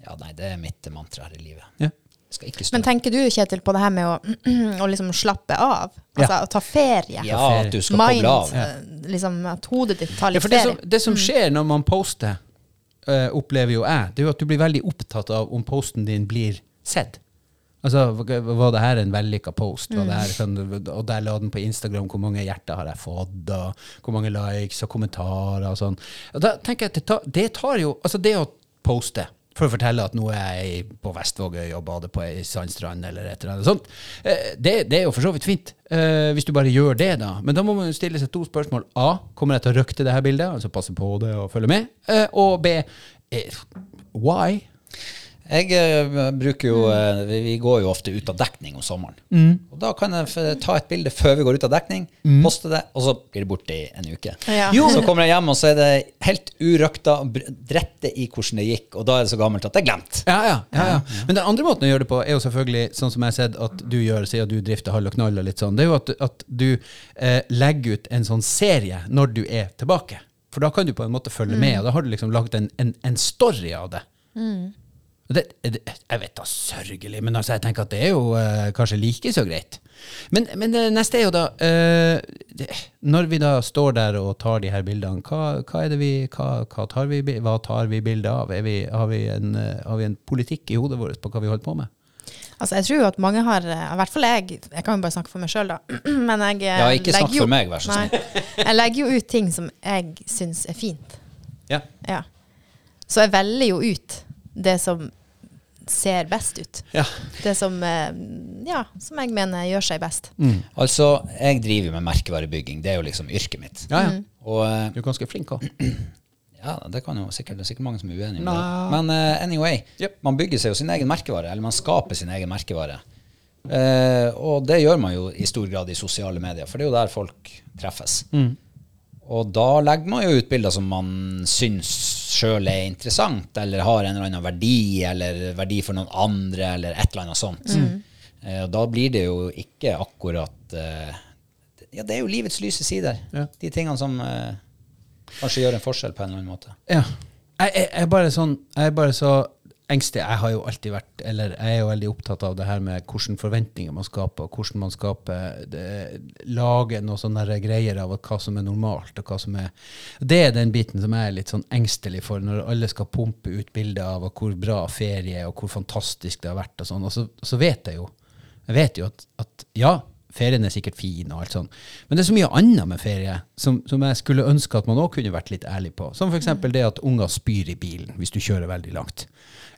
Speaker 2: Ja, nei, Det er mitt mantra her i livet.
Speaker 1: Mm. Ja.
Speaker 2: Jeg skal ikke
Speaker 3: Men
Speaker 2: støte.
Speaker 3: tenker du, Kjetil, på det her med å, [clears throat] å liksom slappe av? Altså å ta ferie?
Speaker 2: Ja, at du skal
Speaker 3: Mind,
Speaker 2: koble av.
Speaker 3: eh, liksom at hodet ditt tar
Speaker 1: Ja,
Speaker 3: litt
Speaker 1: for det
Speaker 3: ferie.
Speaker 1: som, det som skjer når man poster, eh, opplever jo jeg, det er jo at du blir veldig opptatt av om posten din blir sett. Altså, Var det her en vellykka post? Var det her, sånn- og der la den på Instagram. Hvor mange hjerter har jeg fått? Og hvor mange likes og kommentarer? og sånn. Og da tenker jeg at det tar, det tar jo Altså, det å poste for å fortelle at nå er jeg på Vestvågøy og bader på ei sandstrand, eller et eller annet sånt, eh, det, det er jo for så vidt fint. eh, Hvis du bare gjør det, da. Men da må man jo stille seg to spørsmål. A. Kommer jeg til å røkte det her bildet? Altså passe på det og følge med? Eh, Og B. eh, Why?
Speaker 2: Jeg eh, bruker jo eh, vi, vi går jo ofte ut av dekning om sommeren. Og da kan jeg f ta et bilde før vi går ut av dekning, poste det, og så blir det borte i en uke.
Speaker 3: Ja.
Speaker 2: Jo, så kommer jeg hjem, og så er det helt urøkta, br- drette i hvordan det gikk, og da er det så gammelt at det er glemt.
Speaker 1: Ja, ja, ja, ja. Men den andre måten å gjøre det på er jo selvfølgelig sånn som jeg har sett at du gjør, siden du drifter Hall og Knall og litt sånn, det er jo at, at du eh, legger ut en sånn serie når du er tilbake. For da kan du på en måte følge med, og da har du liksom lagd en, en, en story av det. Og Det, det, jeg vet da, sørgelig, men altså, jeg tenker at det er jo eh, kanskje like så greit. Men, men det neste er jo da eh, det, Når vi da står der og tar de her bildene, hva, hva, er det vi, hva, hva, tar, vi, bi- hva tar vi bilde av? Er vi, har, vi en, eh, har vi en politikk i hodet vårt på hva vi holder på med?
Speaker 3: Altså, jeg tror jo at mange har eh, I hvert fall jeg. Jeg kan jo bare snakke for meg sjøl, da. [clears throat] Men jeg eh,
Speaker 2: Ja, ikke snakk
Speaker 3: legger jo-
Speaker 2: for meg, vær så snill.
Speaker 3: Nei. Jeg legger jo ut ting som jeg syns er fint.
Speaker 1: Ja.
Speaker 3: Ja. Så jeg velger jo ut det som ser best ut.
Speaker 1: Ja.
Speaker 3: Det som, eh, ja, som jeg mener gjør seg best.
Speaker 1: Mm.
Speaker 2: Altså, jeg driver jo med merkevarebygging, det er jo liksom yrket mitt.
Speaker 1: ja,
Speaker 2: Og eh,
Speaker 1: Du er ganske flink òg.
Speaker 2: Ja, det kan jo sikkert, det er sikkert mange som er uenige med
Speaker 1: Nei.
Speaker 2: det. Men eh, anyway,
Speaker 1: Jep.
Speaker 2: man bygger seg jo sin egen merkevare, eller man skaper sin egen merkevare. Eh, og det gjør man jo i stor grad i sosiale medier, for det er jo der folk treffes. Og da legger man jo ut bilder som man syns sjøl er interessant, eller har en eller annen verdi, eller verdi for noen andre, eller et eller annet sånt. Eh, og da blir det jo ikke akkurat eh, Ja, det er jo livets lyse sider.
Speaker 1: Ja.
Speaker 2: De tingene som eh, kanskje gjør en forskjell på en eller annen måte.
Speaker 1: Ja. Jeg, jeg, jeg, er bare sånn, jeg er bare så engstelig. Jeg har jo alltid vært, eller jeg er jo veldig opptatt av det her med hvilke forventninger man skaper, og hvordan man skaper det, lager noen sånne her greier av at hva som er normalt, og hva som er Det er den biten som jeg er litt sånn engstelig for, når alle skal pumpe ut bilder av hvor bra ferie er, og hvor fantastisk det har vært, og sånn. Og så, og så vet jeg jo jeg vet jo at, at ja, ferien er sikkert fin, og alt sånn, men det er så mye annet med ferie som, som jeg skulle ønske at man òg kunne vært litt ærlig på. Som f.eks. det at unger spyr i bilen hvis du kjører veldig langt.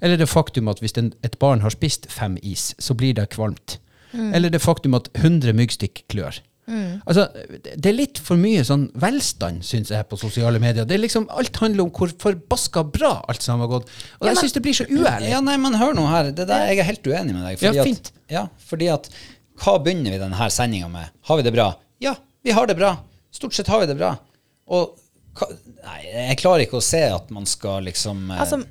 Speaker 1: Eller det faktum at hvis en, et barn har spist fem is, så blir det kvalmt.
Speaker 2: Mm.
Speaker 1: Eller det faktum at 100 myggstikk klør. Altså, det det er litt for mye sånn velstand, syns jeg, på sosiale medier. Det er liksom, Alt handler om hvor forbaska bra alt sammen har gått. Og jeg syns det blir så uærlig.
Speaker 2: Ja, nei, men hør nå her. Det der, jeg er helt uenig med deg. Fordi
Speaker 1: Ja,
Speaker 2: At,
Speaker 1: fint.
Speaker 2: ja, fordi at hva begynner vi denne sendinga med? Har vi det bra? Ja, vi har det bra. Stort sett har vi det bra. Og hva, nei, jeg klarer ikke å se at man skal liksom eh,
Speaker 3: Altså,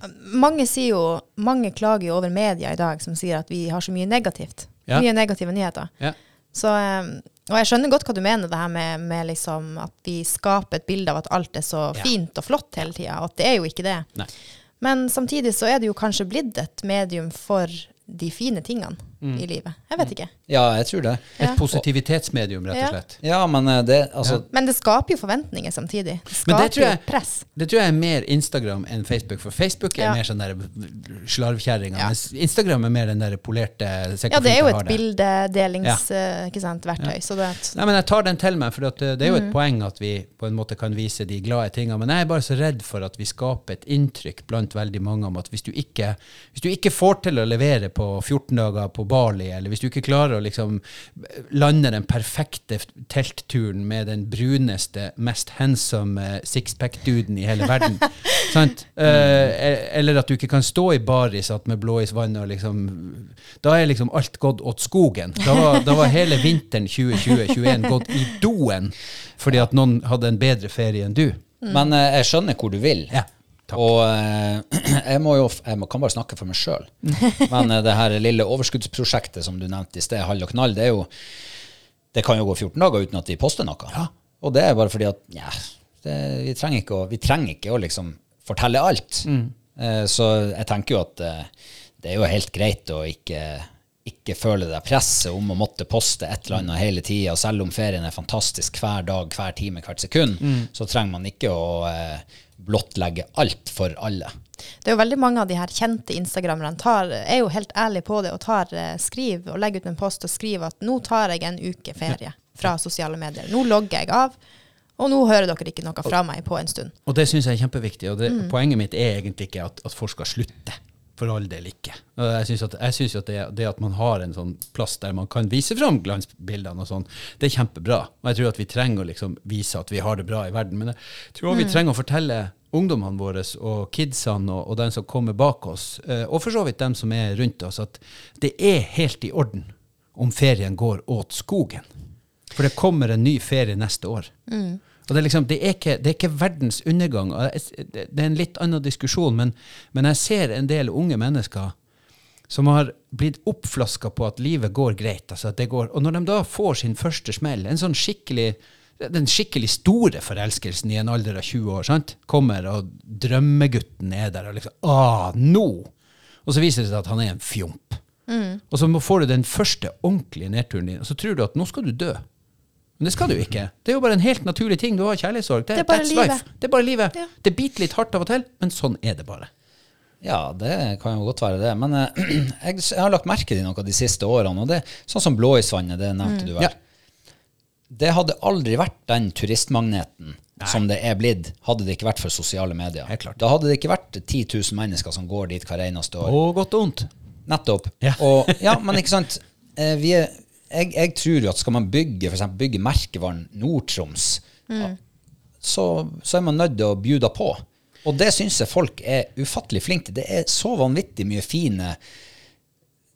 Speaker 3: mange, sier jo, mange klager jo over media i dag som sier at vi har så mye negativt.
Speaker 1: Ja.
Speaker 3: Mye negative nyheter.
Speaker 1: Ja.
Speaker 3: Så, eh, og jeg skjønner godt hva du mener, det her med, med liksom at vi skaper et bilde av at alt er så
Speaker 1: Ja.
Speaker 3: fint og flott hele tida, og at det er jo ikke det.
Speaker 1: Nei.
Speaker 3: Men samtidig så er det jo kanskje blitt et medium for de fine tingene
Speaker 1: Mm.
Speaker 3: i livet. Jeg vet ikke.
Speaker 2: Ja, jeg tror det.
Speaker 1: Et positivitetsmedium, rett
Speaker 3: Ja.
Speaker 1: og slett.
Speaker 2: Ja, men eh, det Altså,
Speaker 3: Men det skaper jo forventninger samtidig. Det
Speaker 1: Men
Speaker 3: skaper
Speaker 1: det tror, jeg,
Speaker 3: jo press.
Speaker 1: det tror jeg er mer Instagram enn Facebook, for Facebook er
Speaker 3: Ja.
Speaker 1: mer sånn der slarvkjerringa. Mens Instagram er mer den der polerte se hvor
Speaker 3: Ja, det
Speaker 1: fint
Speaker 3: er jo
Speaker 1: jeg
Speaker 3: et
Speaker 1: har det.
Speaker 3: bildedelingsverktøy. ikke sant, verktøy, Så det at
Speaker 1: Nei, men Jeg tar den til meg, for at eh, det det er jo
Speaker 3: Mm.
Speaker 1: et poeng at vi på en måte kan vise de glade tingene. Men jeg er bare så redd for at vi skaper et inntrykk blant veldig mange om at hvis du ikke, hvis du ikke får til å levere på 14 dager på Bali, eller hvis du ikke klarer å liksom lande den perfekte teltturen med den bruneste, mest handsome eh, sixpack-duden i hele verden sant? Eh, Eller at du ikke kan stå i baris at med blåis vann og liksom Da er liksom alt gått åt skogen. Da var, da var hele vinteren 2020-2021 gått i doen fordi at noen hadde en bedre ferie enn du.
Speaker 2: men eh, jeg skjønner hvor du vil.
Speaker 1: Mm. Ja, takk.
Speaker 2: Og eh, [clears throat] jeg må jo f- Jeg må, kan bare snakke for
Speaker 1: [laughs]
Speaker 2: meg sjøl. Men eh, det her lille overskuddsprosjektet som du nevnte i sted, Hall og knall, det er jo det kan jo gå 14 dager uten at de poster noe. Og det er bare fordi at nja, det, vi, trenger ikke å, vi trenger ikke å liksom fortelle alt. Eh, så jeg tenker jo at eh, det er jo helt greit å ikke, ikke føle deg presset om å måtte poste et eller annet hele tida. Selv om ferien er fantastisk hver dag, hver time, hvert sekund, så trenger man ikke å eh, blottlegge alt for alle.
Speaker 3: Det er jo veldig mange av de her kjente instagrammerne tar, er jo helt ærlige på det og tar, eh, skriver og legger ut en post og skriver at nå tar jeg en uke ferie fra sosiale medier. Nå logger jeg av, og nå hører dere ikke noe fra meg på en stund.
Speaker 1: Og det syns jeg er kjempeviktig. Og det, poenget mitt er egentlig ikke at, at folk skal slutte. For all del ikke. Og Jeg syns at, jeg synes at det, det at man har en sånn plass der man kan vise fram glansbildene og sånn, det er kjempebra. Og jeg tror at vi trenger å liksom vise at vi har det bra i verden. Men jeg tror også vi trenger å fortelle ungdommene våre og kidsene og, og dem som kommer bak oss, eh, og for så vidt dem som er rundt oss, at det er helt i orden om ferien går åt skogen. For det kommer en ny ferie neste år. Og det, er liksom, det, er ikke, det er ikke verdens undergang. Og jeg- Det det er en litt annen diskusjon, men, men jeg ser en del unge mennesker som har blitt oppflaska på at livet går greit. Altså at det går, og når de da får sin første smell, en sånn skikkelig den skikkelig store forelskelsen i en alder av 20 år sant? kommer, og drømmegutten er der og liksom Ah, nå! Og så viser det seg at han er en fjomp.
Speaker 3: Mm.
Speaker 1: Og så må- får du den første ordentlige nedturen din, og så tror du at nå skal du dø. Men det skal du ikke. Det er jo bare en helt naturlig ting. Du har kjærlighetssorg. Det,
Speaker 3: Det er bare
Speaker 1: that's
Speaker 3: livet.
Speaker 1: Life. Det er bare livet.
Speaker 3: Ja.
Speaker 1: Det biter litt hardt av og til, men sånn er det bare.
Speaker 2: Ja, det kan jo godt være det. Men eh, [clears throat] jeg, s- jeg har lagt merke til noe de siste årene. og det Sånn som Blåisvannet, det nevnte du vel.
Speaker 1: Ja.
Speaker 2: Det hadde aldri vært den turistmagneten som det er blitt, hadde det ikke vært for sosiale medier.
Speaker 1: Helt klart.
Speaker 2: Da hadde det ikke vært 10 000 mennesker som går dit hver eneste år.
Speaker 1: Og godt og vondt.
Speaker 2: Nettopp.
Speaker 1: Ja.
Speaker 2: [laughs] Og, ja, men ikke sant. Eh, Vi er, jeg, jeg tror jo at skal man bygge for eksempel, bygge merkevaren Nord-Troms, ja, så, så er man nødt til å bjuda på. Og det syns jeg folk er ufattelig flinke til. Det er så vanvittig mye fine,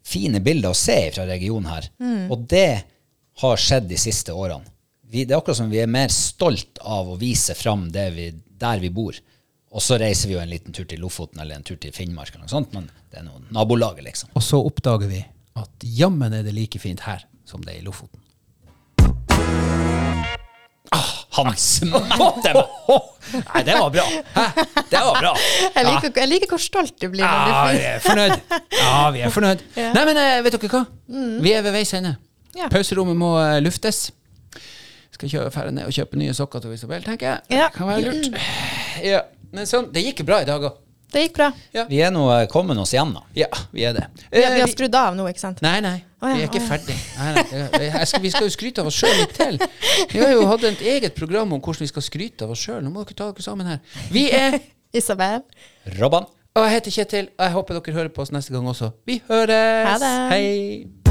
Speaker 2: fine bilder å se fra regionen her. Og det har skjedd de siste årene. Vi, det er akkurat som vi er mer stolt av å vise fram det vi, der vi bor. Og så reiser vi jo en liten tur til Lofoten eller en tur til Finnmark, eller noe sånt, men det er noe nabolaget, liksom.
Speaker 1: Og så oppdager vi at jammen er det like fint her som det er i Lofoten.
Speaker 2: Han smatte meg! Nei, det var bra. Hæ? Det var bra.
Speaker 3: Jeg liker, jeg liker hvor stolt du blir når
Speaker 1: Ah, Ja,
Speaker 3: du
Speaker 1: vi er fornøyd. Ja, vi er fornøyd. Nei, men eh, vet dere hva? Vi er ved veis ende.
Speaker 3: Ja.
Speaker 1: Pauserommet må eh, luftes. Skal kjøre ferdig ned og kjøpe nye sokker til Isabel, tenker jeg.
Speaker 3: Ja.
Speaker 1: Kan være lurt. Ja. Men sånn, det gikk jo bra i dag òg.
Speaker 3: Det gikk bra.
Speaker 2: Vi er nå eh, kommet oss igjen, da.
Speaker 1: Ja, vi er det.
Speaker 3: Vi, vi
Speaker 1: Eh,
Speaker 3: har skrudd av nå, ikke sant?
Speaker 1: Nei, nei.
Speaker 3: Å ja,
Speaker 1: Vi er ikke
Speaker 3: å ja.
Speaker 1: ferdig. Nei, nei. Jeg- Jeg skal, vi skal jo skryte av oss sjøl litt til. Vi har jo hatt et eget program om hvordan vi skal skryte av oss sjøl. Nå må dere ta dere sammen her. Vi er
Speaker 3: Isabel.
Speaker 2: Robban.
Speaker 1: Og jeg heter Kjetil, og jeg håper dere hører på oss neste gang også. Vi høres!
Speaker 3: Ha det.
Speaker 1: Hei!